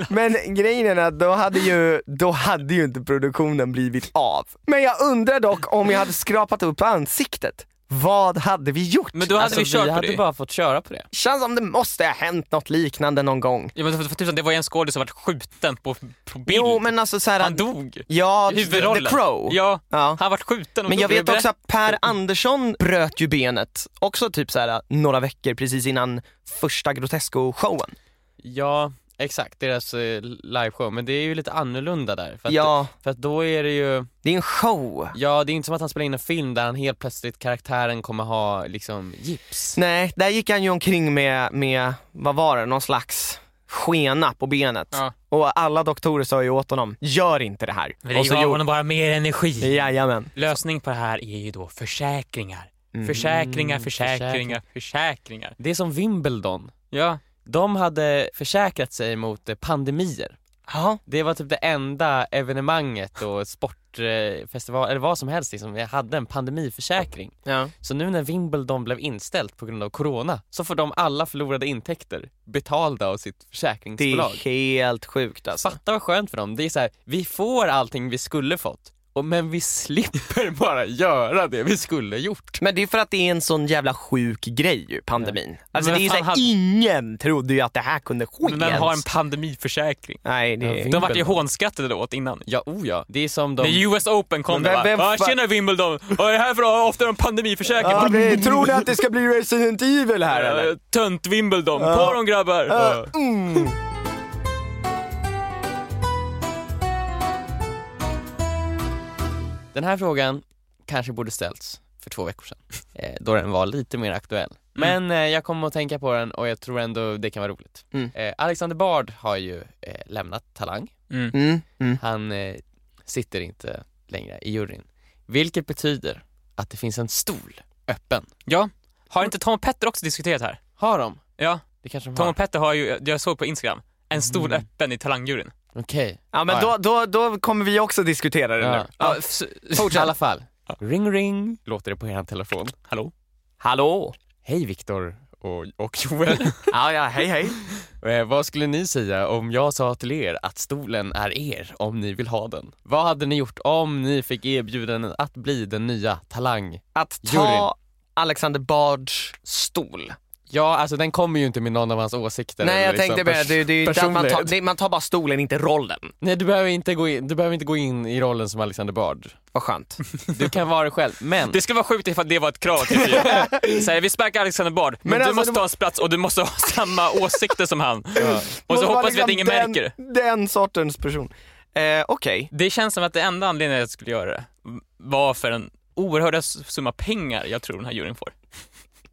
[SPEAKER 2] Men grejen är att då hade, ju, då hade ju inte produktionen blivit av. Men jag undrar dock om jag hade skrapat upp ansiktet. Vad hade vi gjort?
[SPEAKER 3] men då hade
[SPEAKER 1] Alltså,
[SPEAKER 3] vi kört
[SPEAKER 1] vi
[SPEAKER 3] på
[SPEAKER 1] hade
[SPEAKER 3] det.
[SPEAKER 1] bara fått köra på det.
[SPEAKER 2] Känns som det måste ha hänt något liknande någon gång.
[SPEAKER 3] Ja, men för, för, tusan, det var ju en skådis som vart skjuten på, på bild.
[SPEAKER 2] Jo men alltså såhär...
[SPEAKER 3] Han dog.
[SPEAKER 2] Ja,
[SPEAKER 3] Huvudrollen.
[SPEAKER 2] The Crow.
[SPEAKER 3] Ja,
[SPEAKER 2] Ja.
[SPEAKER 3] han vart skjuten. och
[SPEAKER 2] Men jag
[SPEAKER 3] dog.
[SPEAKER 2] vet också att Per Andersson bröt ju benet, också typ så här några veckor precis innan första Grotesco-showen.
[SPEAKER 1] Ja, exakt, deras eh, liveshow. Men det är ju lite annorlunda där. För att,
[SPEAKER 2] Ja,
[SPEAKER 1] för att då är det ju,
[SPEAKER 2] det är en show.
[SPEAKER 1] ja det är inte som att han spelar in en film där han helt plötsligt, karaktären kommer ha liksom gips.
[SPEAKER 2] Nej, där gick han ju omkring med, med vad var det, någon slags skena på benet.
[SPEAKER 3] Ja.
[SPEAKER 2] Och alla doktorer sa ju åt honom, gör inte det här.
[SPEAKER 3] Men det
[SPEAKER 2] och så
[SPEAKER 3] gav
[SPEAKER 2] gjorde-
[SPEAKER 3] honom bara mer energi.
[SPEAKER 2] Jajamän.
[SPEAKER 3] Lösning på det här är ju då försäkringar. Försäkringar,
[SPEAKER 2] Mm,
[SPEAKER 3] försäkringar, försäkringar.
[SPEAKER 1] Det är som Wimbledon.
[SPEAKER 3] Ja.
[SPEAKER 1] De hade försäkrat sig mot eh, pandemier.
[SPEAKER 2] Ja.
[SPEAKER 1] Det var typ det enda evenemanget och sportfestival eller vad som helst liksom, jag hade en pandemiförsäkring.
[SPEAKER 2] Ja.
[SPEAKER 1] Så nu när Wimbledon blev inställt på grund av corona så får de alla förlorade intäkter betalda av sitt
[SPEAKER 2] Det är
[SPEAKER 1] försäkringsbolag.
[SPEAKER 2] helt sjukt alltså.
[SPEAKER 1] Fatta vad skönt för dem. Det är så här, vi får allting vi skulle fått, och, men vi slipper bara göra det vi skulle gjort.
[SPEAKER 2] Men det är för att det är en sån jävla sjuk grej ju, pandemin. Alltså
[SPEAKER 3] Men
[SPEAKER 2] det är så
[SPEAKER 3] fan
[SPEAKER 2] här,
[SPEAKER 3] hade-
[SPEAKER 2] ingen trodde ju att det här kunde ske
[SPEAKER 3] Men vem har en
[SPEAKER 2] ens.
[SPEAKER 3] pandemiförsäkring?
[SPEAKER 2] Nej, det
[SPEAKER 1] Ja,
[SPEAKER 2] är...
[SPEAKER 1] vi-
[SPEAKER 3] De vart ju hånskrattade då åt innan.
[SPEAKER 1] Ja, oh ja. Det är som de...
[SPEAKER 3] När US Open kom
[SPEAKER 2] Men
[SPEAKER 3] det
[SPEAKER 2] vem-
[SPEAKER 3] bara,
[SPEAKER 2] vem
[SPEAKER 3] "Ah, tjena Wimbledon, jag är här för att ha- ofta en pandemiförsäkring.
[SPEAKER 2] Ja,
[SPEAKER 3] Ja,
[SPEAKER 2] vi- tror ni att det ska bli Resident Evil här eller?
[SPEAKER 3] Tönt Wimbledon, på dem grabbar!
[SPEAKER 2] Ja.
[SPEAKER 3] Ja.
[SPEAKER 2] Mm.
[SPEAKER 1] Den här frågan kanske borde ställts för två veckor sedan, eh, då den var lite mer aktuell. Men eh, jag kommer att tänka på den och jag tror ändå det kan vara roligt.
[SPEAKER 2] Mm.
[SPEAKER 1] Eh, Alexander Bard har ju eh, lämnat Talang.
[SPEAKER 3] Mm.
[SPEAKER 2] Mm. Mm.
[SPEAKER 1] Han eh, sitter inte längre i juryn. Vilket betyder att det finns en stol öppen.
[SPEAKER 3] ja. Har inte Tom och Petter också diskuterat här?
[SPEAKER 1] Har de?
[SPEAKER 3] Ja,
[SPEAKER 1] Det kanske de
[SPEAKER 3] Tom
[SPEAKER 1] har.
[SPEAKER 3] och Petter har ju, jag såg på Instagram, en stol
[SPEAKER 2] Mm.
[SPEAKER 3] öppen i talangjuryn.
[SPEAKER 1] Okej.
[SPEAKER 2] Ja men då, då, då kommer vi också diskutera det nu.
[SPEAKER 3] Ja, f-
[SPEAKER 1] I alla fall. Ring ring låter det på er telefon.
[SPEAKER 3] Hallå?
[SPEAKER 2] Hallå?
[SPEAKER 1] Hej Viktor och, och Joel.
[SPEAKER 2] Ja, ja, hej hej.
[SPEAKER 1] Eh, vad skulle ni säga om jag sa till er att stolen är er om ni vill ha den? Vad hade ni gjort om ni fick erbjudanden att bli den nya Talang?
[SPEAKER 2] Att ta
[SPEAKER 1] Juryn.
[SPEAKER 2] Alexander Bards stol.
[SPEAKER 1] Ja, alltså den kommer ju inte med någon av hans åsikter.
[SPEAKER 2] Nej,
[SPEAKER 1] eller
[SPEAKER 2] jag
[SPEAKER 1] liksom
[SPEAKER 2] tänkte mer,
[SPEAKER 1] pers-
[SPEAKER 2] det, det är ju inte att man, tar,
[SPEAKER 1] personlighet.
[SPEAKER 2] det, man tar bara stolen, inte rollen.
[SPEAKER 1] Nej, du behöver, inte gå in, du behöver inte gå in i rollen som Alexander Bard.
[SPEAKER 2] Vad skönt.
[SPEAKER 1] Du kan vara dig själv, men
[SPEAKER 2] Mm.
[SPEAKER 3] Det skulle vara sjukt ifall det var ett krav tycker jag. Så här, vi sparkar Alexander Bard, men,
[SPEAKER 2] Men
[SPEAKER 3] du
[SPEAKER 2] alltså,
[SPEAKER 3] måste
[SPEAKER 2] det
[SPEAKER 3] ta hans plats och du måste ha samma åsikter som han. Och så
[SPEAKER 2] Måste vara
[SPEAKER 3] hoppas vi att
[SPEAKER 2] liksom
[SPEAKER 3] ingen
[SPEAKER 2] den,
[SPEAKER 3] märker det.
[SPEAKER 2] Den sortens person. Eh, Okej,
[SPEAKER 3] Det känns som att det enda anledningen jag skulle göra det var för den oerhörda s- summa pengar jag tror den här juryn får.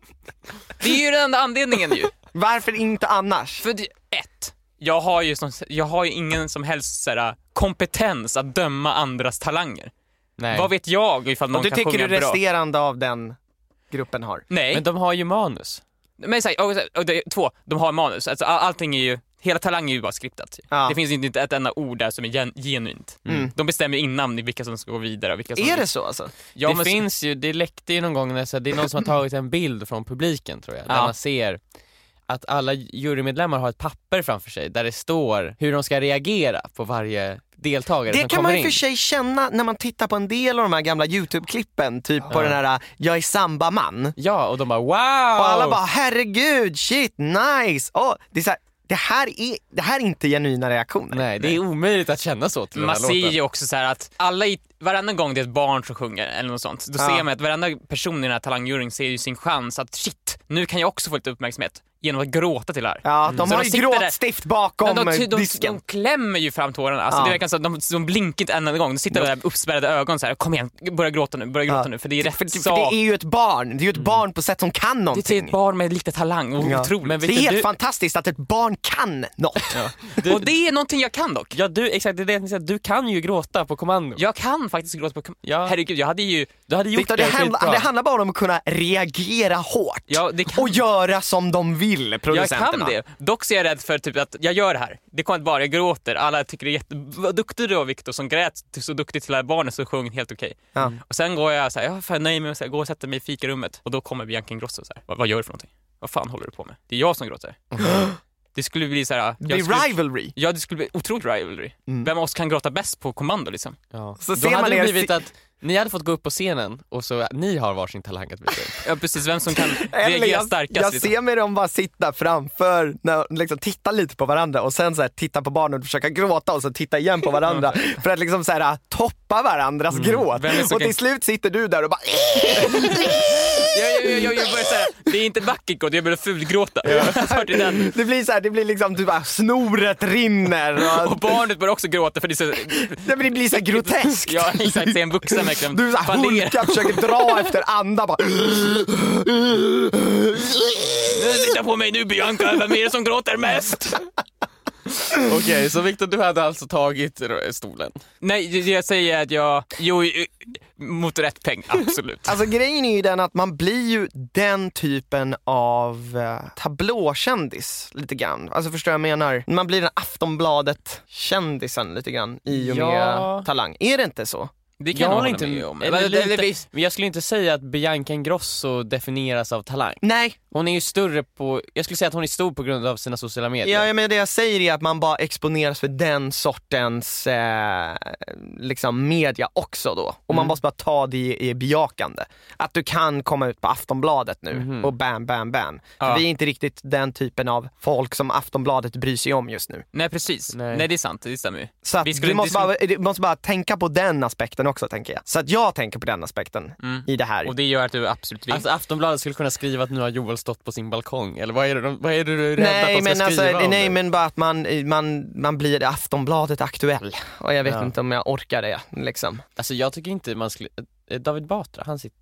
[SPEAKER 3] Det är ju den enda anledningen ju.
[SPEAKER 2] varför inte annars?
[SPEAKER 3] För det, ett, jag har ju, som, jag har ju ingen som helst så här, kompetens att döma andras talanger.
[SPEAKER 1] nej.
[SPEAKER 3] Vad vet jag ifall någon
[SPEAKER 2] Och det
[SPEAKER 3] kan
[SPEAKER 2] tycker
[SPEAKER 3] sjunga
[SPEAKER 2] du
[SPEAKER 3] bra?
[SPEAKER 2] resterande av den gruppen har?
[SPEAKER 3] Nej.
[SPEAKER 1] Men de har ju manus.
[SPEAKER 3] Men så här, och, så här, och det, två, de har manus. Alltså, all- allting är ju, hela Talang är ju bara skriptat.
[SPEAKER 2] Ja.
[SPEAKER 3] Det finns ju inte ett enda ord där som är gen, genuint.
[SPEAKER 2] Mm.
[SPEAKER 3] De bestämmer innan vilka som ska gå vidare. och Vilka som
[SPEAKER 2] Är det så alltså?
[SPEAKER 3] Ja,
[SPEAKER 1] det
[SPEAKER 3] men, så-
[SPEAKER 1] finns ju, det läckte ju någon gång, när, så här, det är någon som har tagit en bild från publiken tror jag, där
[SPEAKER 3] Ja.
[SPEAKER 1] man ser att alla jurymedlemmar har ett papper framför sig där det står hur de ska reagera på varje deltagare
[SPEAKER 2] Det
[SPEAKER 1] som
[SPEAKER 2] kan
[SPEAKER 1] kommer
[SPEAKER 2] man i och
[SPEAKER 1] in.
[SPEAKER 2] för sig känna när man tittar på en del av de här gamla YouTube-klippen, typ på den här “jag är sambaman”
[SPEAKER 1] Ja, och de bara wow!
[SPEAKER 2] och alla bara “herregud, shit, nice”. Åh, det, är så här, det, här är, det här är inte genuina reaktioner.
[SPEAKER 1] Nej, det är omöjligt att känna så till
[SPEAKER 3] man
[SPEAKER 1] den här
[SPEAKER 3] ser
[SPEAKER 1] låten.
[SPEAKER 3] ju också så här att alla i, varenda gång det är ett barn som sjunger eller något sånt, då
[SPEAKER 2] Ja.
[SPEAKER 3] ser man att varenda person i den här talangjuryn ser ju sin chans att shit, nu kan jag också få lite uppmärksamhet genom att gråta till det här.
[SPEAKER 2] Ja, de
[SPEAKER 3] Mm. Så
[SPEAKER 2] har
[SPEAKER 3] de
[SPEAKER 2] ju
[SPEAKER 3] sitter där-
[SPEAKER 2] gråtstift
[SPEAKER 3] Men
[SPEAKER 2] bakom
[SPEAKER 3] de, ty- de,
[SPEAKER 2] disken.
[SPEAKER 3] de klämmer ju fram tårarna. Alltså,
[SPEAKER 2] Ja.
[SPEAKER 3] Det verkar som att de, de blinkar inte en enda gång. De sitter där med uppspärrade ögon så här. kom igen, börja gråta nu, börja gråta
[SPEAKER 2] Ja.
[SPEAKER 3] nu. För det är rätt
[SPEAKER 2] för, för
[SPEAKER 3] sak.
[SPEAKER 2] Typ, det är ju ett barn, det är ju ett barn på sätt som kan
[SPEAKER 3] Mm. Det är ett
[SPEAKER 2] någonting.
[SPEAKER 3] barn med lite talang, och
[SPEAKER 2] Ja.
[SPEAKER 3] otroligt.
[SPEAKER 1] Men
[SPEAKER 2] Det
[SPEAKER 1] vet
[SPEAKER 2] är helt
[SPEAKER 1] du,
[SPEAKER 2] fantastiskt att ett barn kan något.
[SPEAKER 1] du,
[SPEAKER 3] och det är någonting jag kan dock.
[SPEAKER 1] Ja, du, exakt, det är det jag tänkte säga. Du kan ju gråta på kommando.
[SPEAKER 3] Jag kan faktiskt gråta på kom-
[SPEAKER 1] Ja.
[SPEAKER 3] Herregud, jag hade ju...
[SPEAKER 1] Du hade gjort
[SPEAKER 2] Victor, det,
[SPEAKER 1] det
[SPEAKER 2] handlar,
[SPEAKER 1] skitbra.
[SPEAKER 2] det handlar bara om att kunna reagera hårt
[SPEAKER 3] Ja, det kan-
[SPEAKER 2] och göra som de vill,
[SPEAKER 3] Jag
[SPEAKER 2] producenterna.
[SPEAKER 3] kan det. Dock så är jag rädd för typ att jag gör det här. Det kommer inte bara, jag gråter. Alla tycker det är jätte... Vad duktig du var Viktor som grät så duktigt till det här barnet som sjöng helt okej.
[SPEAKER 2] Ja.
[SPEAKER 3] Och sen går jag så här, jag är fan nöjd med mig, så här, går och sätter mig i fikarummet. Och då kommer Bianca Ingrosso så här, vad, vad gör du för någonting? Vad fan håller du på med? Det är jag som gråter. det skulle bli så här...
[SPEAKER 2] Det
[SPEAKER 3] jag
[SPEAKER 2] blir Mm.
[SPEAKER 3] skulle-
[SPEAKER 2] rivalry.
[SPEAKER 3] Ja, det skulle bli otroligt rivalry. Vem av oss kan gråta bäst på kommando liksom?
[SPEAKER 1] Ja.
[SPEAKER 2] Så
[SPEAKER 1] Då
[SPEAKER 2] ser
[SPEAKER 1] hade
[SPEAKER 2] man
[SPEAKER 1] det
[SPEAKER 2] er
[SPEAKER 1] blivit
[SPEAKER 2] si-
[SPEAKER 1] att ni hade fått gå upp på scenen och så ni har varsin talang att visa upp.
[SPEAKER 3] Ja, precis. Vem som kan
[SPEAKER 2] Eller
[SPEAKER 3] reagera
[SPEAKER 2] jag,
[SPEAKER 3] starkast.
[SPEAKER 2] jag
[SPEAKER 3] liksom.
[SPEAKER 2] ser mig dem bara sitta framför, när, liksom, titta lite på varandra och sen så här, titta på barnen och försöka gråta och så titta igen på varandra för att liksom så här, toppa varandras gråt.
[SPEAKER 3] Mm. Vem är det som
[SPEAKER 2] Och
[SPEAKER 3] kan-
[SPEAKER 2] till slut sitter du där och bara
[SPEAKER 3] Jag, jag, jag, jag, jag börjar säga, det är inte vackert jag börjar fulgråta. Ja. Den.
[SPEAKER 2] Det blir så här, det blir liksom du bara snoret rinner. Och,
[SPEAKER 3] Och barnet börjar också gråta för det är så...
[SPEAKER 2] Nej, men det blir så här groteskt.
[SPEAKER 3] Ja, exakt. Det är en vuxen verkligen.
[SPEAKER 2] Du så här,
[SPEAKER 3] Faller.
[SPEAKER 2] hulkar, försöker dra efter andan bara.
[SPEAKER 3] Nu, Titta på mig nu Bianca, vem är det som gråter mest?
[SPEAKER 1] Okej, så Victor du hade alltså tagit r- stolen?
[SPEAKER 3] Nej, jag- jag säger att jag... Jo, eh, mot rätt peng, absolut.
[SPEAKER 2] Alltså grejen är ju den att man blir ju den typen av eh, tablåkändis lite grann. Alltså förstår jag vad jag menar? Man blir den Aftonbladet-kändisen lite grann i och med
[SPEAKER 1] Ja.
[SPEAKER 2] Talang. Är det inte så?
[SPEAKER 3] Det kan
[SPEAKER 1] Jag
[SPEAKER 3] jag,
[SPEAKER 1] håller
[SPEAKER 3] hålla
[SPEAKER 1] inte
[SPEAKER 3] med om.
[SPEAKER 1] Eller,
[SPEAKER 3] Eller,
[SPEAKER 1] lite,
[SPEAKER 3] eller, visst.
[SPEAKER 1] men jag skulle inte säga att Bianca Ingrosso definieras av talang.
[SPEAKER 2] Nej,
[SPEAKER 1] Hon är ju större på, jag skulle säga att hon är stor på grund av sina sociala medier.
[SPEAKER 2] ja, jag menar, det jag säger är att man bara exponeras för den sortens eh, liksom media också då. Och
[SPEAKER 1] Mm.
[SPEAKER 2] man måste bara ta det i, i bejakande. Att du kan komma ut på Aftonbladet nu
[SPEAKER 1] Mhm.
[SPEAKER 2] och bam, bam, bam.
[SPEAKER 3] Ja.
[SPEAKER 2] För vi är inte riktigt den typen av folk som Aftonbladet bryr sig om just nu.
[SPEAKER 3] Nej, precis.
[SPEAKER 1] Nej.
[SPEAKER 3] Nej. det är sant. Det stämmer ju.
[SPEAKER 2] Så att
[SPEAKER 3] Vi skulle
[SPEAKER 2] du, måste
[SPEAKER 3] inte-
[SPEAKER 2] bara, eh, du måste bara tänka på den aspekten också tänker jag. Så att jag tänker på den aspekten
[SPEAKER 1] Mm.
[SPEAKER 2] i det här.
[SPEAKER 3] Och det gör att du absolut vinner.
[SPEAKER 1] Alltså Aftonbladet skulle kunna skriva att nu har Joel stått på sin balkong, eller vad är det, de- vad är det du är rädd att
[SPEAKER 2] Nej
[SPEAKER 1] de ska
[SPEAKER 2] men, alltså,
[SPEAKER 1] skriva om
[SPEAKER 2] nej
[SPEAKER 1] dig?
[SPEAKER 2] men bara att man, man, man blir Aftonbladet aktuell. Och jag vet
[SPEAKER 1] Ja.
[SPEAKER 2] inte om jag orkar det. Liksom.
[SPEAKER 1] Alltså jag tycker inte man skulle, eh, David Batra, han sitter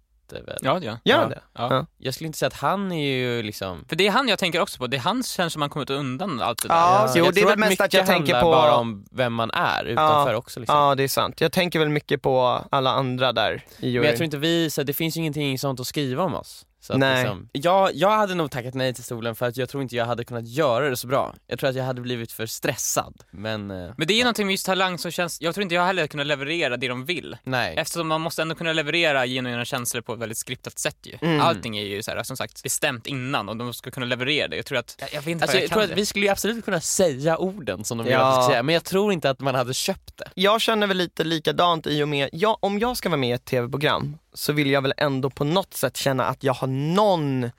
[SPEAKER 1] väl?
[SPEAKER 3] ja, det gör
[SPEAKER 2] Gör
[SPEAKER 3] ja.
[SPEAKER 2] det?
[SPEAKER 3] Ja.
[SPEAKER 2] Ja.
[SPEAKER 1] Jag skulle inte säga att han är ju liksom
[SPEAKER 3] För det är han jag tänker också på. Det är han känns som han kommit undan allt det där.
[SPEAKER 2] Ja,
[SPEAKER 1] Ja,
[SPEAKER 2] jo,
[SPEAKER 1] jag
[SPEAKER 2] det är
[SPEAKER 1] tror
[SPEAKER 2] väl mest
[SPEAKER 1] mycket
[SPEAKER 2] att jag tänker
[SPEAKER 1] handlar
[SPEAKER 2] på...
[SPEAKER 1] bara om vem man är utanför också liksom.
[SPEAKER 2] Ja det är sant. Jag tänker väl mycket på alla andra där i
[SPEAKER 1] Men jag tror
[SPEAKER 2] juryn.
[SPEAKER 1] inte vi, så här, det finns ju ingenting sånt att skriva om oss. Så att
[SPEAKER 2] Nej.
[SPEAKER 1] Liksom, jag, jag hade nog tackat nej till stolen för att jag tror inte jag hade kunnat göra det så bra. Jag tror att jag hade blivit för stressad. Men eh,
[SPEAKER 3] Men det är ju någonting med just talang som känns, jag tror inte jag heller kunnat leverera det de vill.
[SPEAKER 1] nej.
[SPEAKER 3] Eftersom man måste ändå kunna leverera genuina känslor på ett väldigt skriptat sätt ju.
[SPEAKER 2] Mm.
[SPEAKER 3] Allting är ju så här, som sagt bestämt innan och de ska kunna leverera det. Jag tror att, jag, jag vet inte
[SPEAKER 1] Alltså,
[SPEAKER 3] vad
[SPEAKER 1] jag
[SPEAKER 3] jag,
[SPEAKER 1] tror
[SPEAKER 3] kan
[SPEAKER 1] att
[SPEAKER 3] det.
[SPEAKER 1] vi skulle ju absolut kunna säga orden som de vill
[SPEAKER 2] Ja.
[SPEAKER 1] att vi ska säga, men jag tror inte att man hade köpt det.
[SPEAKER 2] Jag känner väl lite likadant i och med, ja, om jag ska vara med i ett tv-program så vill jag väl ändå på något sätt känna att jag har någon,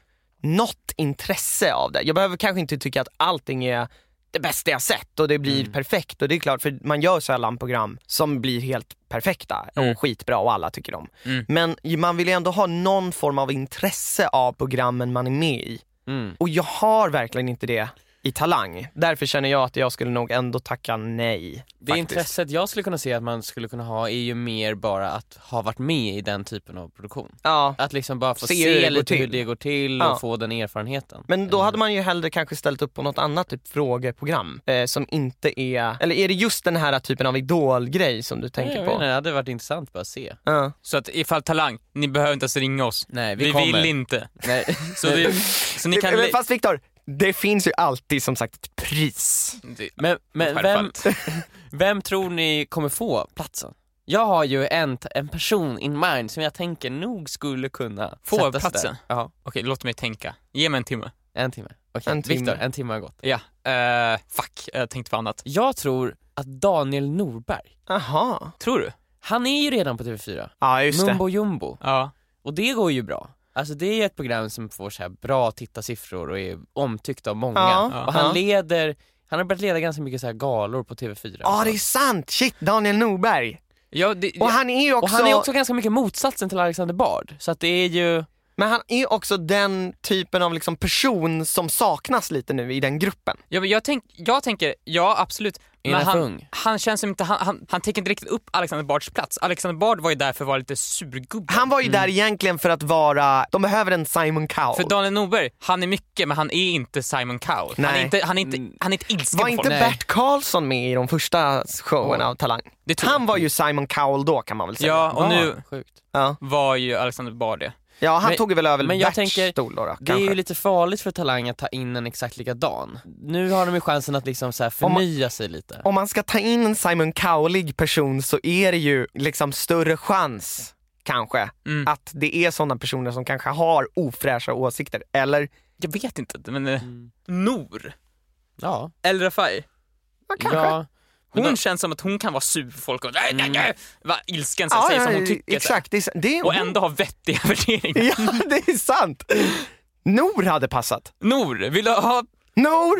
[SPEAKER 2] något intresse av det. Jag behöver kanske inte tycka att allting är det bästa jag sett och det blir
[SPEAKER 1] Mm.
[SPEAKER 2] perfekt. Och det är klart, för man gör sällan program som blir helt perfekta
[SPEAKER 3] Mm.
[SPEAKER 2] och skitbra och alla tycker om.
[SPEAKER 3] Mm.
[SPEAKER 2] Men man vill ju ändå ha någon form av intresse av programmen man är med i.
[SPEAKER 1] Mm,
[SPEAKER 2] Och jag har verkligen inte det i Talang. Därför känner jag att jag skulle nog ändå tacka nej.
[SPEAKER 1] Det
[SPEAKER 2] faktiskt.
[SPEAKER 1] intresset jag skulle kunna se att man skulle kunna ha är ju mer bara att ha varit med i den typen av produktion.
[SPEAKER 2] Ja.
[SPEAKER 1] Att liksom bara få
[SPEAKER 2] Se
[SPEAKER 1] se,
[SPEAKER 2] hur det går
[SPEAKER 1] lite hur
[SPEAKER 2] till.
[SPEAKER 1] det går till
[SPEAKER 2] Ja.
[SPEAKER 1] och få den erfarenheten.
[SPEAKER 2] Men då hade man ju hellre kanske ställt upp på något annat typ frågeprogram eh, som inte är, eller är det just den här typen av idolgrej som du tänker
[SPEAKER 1] jag
[SPEAKER 2] på?
[SPEAKER 1] menar, det hade varit intressant bara att se.
[SPEAKER 2] Ja.
[SPEAKER 3] Så att ifall talang, ni behöver inte ens ringa oss.
[SPEAKER 1] Nej, vi
[SPEAKER 3] Vi,
[SPEAKER 1] kommer.
[SPEAKER 3] vill inte.
[SPEAKER 1] Nej.
[SPEAKER 3] Så, det, så ni kan...
[SPEAKER 2] Men
[SPEAKER 3] li-
[SPEAKER 2] Eh, fast Viktor, det finns ju alltid som sagt ett pris.
[SPEAKER 3] Det-
[SPEAKER 1] Men, men vem,
[SPEAKER 3] Självfallet.
[SPEAKER 1] vem tror ni kommer få platsen? Jag har ju en, t- en person in mind som jag tänker nog skulle kunna
[SPEAKER 3] Få
[SPEAKER 1] sätta sig
[SPEAKER 3] platsen?
[SPEAKER 1] Där. Ja,
[SPEAKER 3] Okej, låt mig tänka. Ge mig en timme.
[SPEAKER 1] en timme. Okej,
[SPEAKER 2] En timme.
[SPEAKER 1] Viktor, en timme har gått.
[SPEAKER 3] Ja, eh, fuck, jag tänkte på annat.
[SPEAKER 1] Jag tror att Daniel Norberg,
[SPEAKER 2] Jaha.
[SPEAKER 3] Tror du?
[SPEAKER 1] han är ju redan på TV4,
[SPEAKER 2] Ja just det.
[SPEAKER 1] Mumbo Jumbo,
[SPEAKER 3] Ja.
[SPEAKER 1] och det går ju bra. Alltså det är ett program som får så här bra tittarsiffror och är omtyckt av många.
[SPEAKER 2] Ja,
[SPEAKER 3] Ja.
[SPEAKER 1] Och han
[SPEAKER 2] ja.
[SPEAKER 1] leder, han har börjat leda ganska mycket så här galor på TV4.
[SPEAKER 2] Ja det är sant, shit Daniel Norberg.
[SPEAKER 3] ja, det,
[SPEAKER 2] Och han är ju också,
[SPEAKER 1] Och han är också ganska mycket motsatsen till Alexander Bard, så att det är ju
[SPEAKER 2] men han är också den typen av liksom person som saknas lite nu i den gruppen.
[SPEAKER 3] Ja, men jag, tänk, jag tänker, ja absolut.
[SPEAKER 1] Är
[SPEAKER 3] Men
[SPEAKER 1] han för
[SPEAKER 3] han,
[SPEAKER 1] ung?
[SPEAKER 3] han känns som inte, han, han, han tänker inte riktigt upp Alexander Bards plats. Alexander Bard var ju där för att vara lite surgubbe.
[SPEAKER 2] Han var ju där egentligen för att vara, de behöver en Simon Cowell.
[SPEAKER 3] Mm. För Daniel Norberg, han är mycket men han är inte Simon Cowell. Han
[SPEAKER 2] Nej.
[SPEAKER 3] är
[SPEAKER 2] Mm.
[SPEAKER 3] inte, han är inte, han är inte ilsken
[SPEAKER 2] Var
[SPEAKER 3] på
[SPEAKER 2] inte
[SPEAKER 3] folk.
[SPEAKER 2] Bert Karlsson med i de första showerna av Talang?
[SPEAKER 3] Det tror
[SPEAKER 2] Han
[SPEAKER 3] jag.
[SPEAKER 2] var ju Simon Cowell då kan man väl säga.
[SPEAKER 3] Ja, och nu
[SPEAKER 1] barn. Sjukt.
[SPEAKER 2] Ja,
[SPEAKER 3] var ju Alexander Bard det.
[SPEAKER 2] ja han
[SPEAKER 1] Men-
[SPEAKER 2] tog väl över
[SPEAKER 1] men jag
[SPEAKER 2] Berts
[SPEAKER 1] tänker,
[SPEAKER 2] stol då, då
[SPEAKER 1] Det
[SPEAKER 2] kanske.
[SPEAKER 1] är ju lite farligt för Talang att ta in en exakt likadan. Nu har de ju chansen att liksom så här
[SPEAKER 2] Om man-
[SPEAKER 1] förnya sig lite.
[SPEAKER 2] Om man ska ta in en Simon Cowellig person så är det ju liksom större chans kanske
[SPEAKER 3] Mm.
[SPEAKER 2] att det är sådana personer som kanske har ofräscha åsikter. Eller
[SPEAKER 3] Jag vet inte, men eh,
[SPEAKER 2] Mm.
[SPEAKER 3] Nor,
[SPEAKER 1] Ja,
[SPEAKER 3] El Rafai.
[SPEAKER 2] ja, kanske.
[SPEAKER 1] ja.
[SPEAKER 3] Hon
[SPEAKER 1] Men då-
[SPEAKER 3] känns som att hon kan vara sur för folk och "Äh, nej, nej, nej, va, ilsken som
[SPEAKER 2] Mm. Ja,
[SPEAKER 3] säger
[SPEAKER 2] ja,
[SPEAKER 3] som hon tycker. så här.
[SPEAKER 2] Exakt, det är, det är,
[SPEAKER 3] Och ändå ha vettiga värderingar.
[SPEAKER 2] Ja, det är sant. Nor hade passat.
[SPEAKER 3] Nor, vill du ha
[SPEAKER 2] Nor,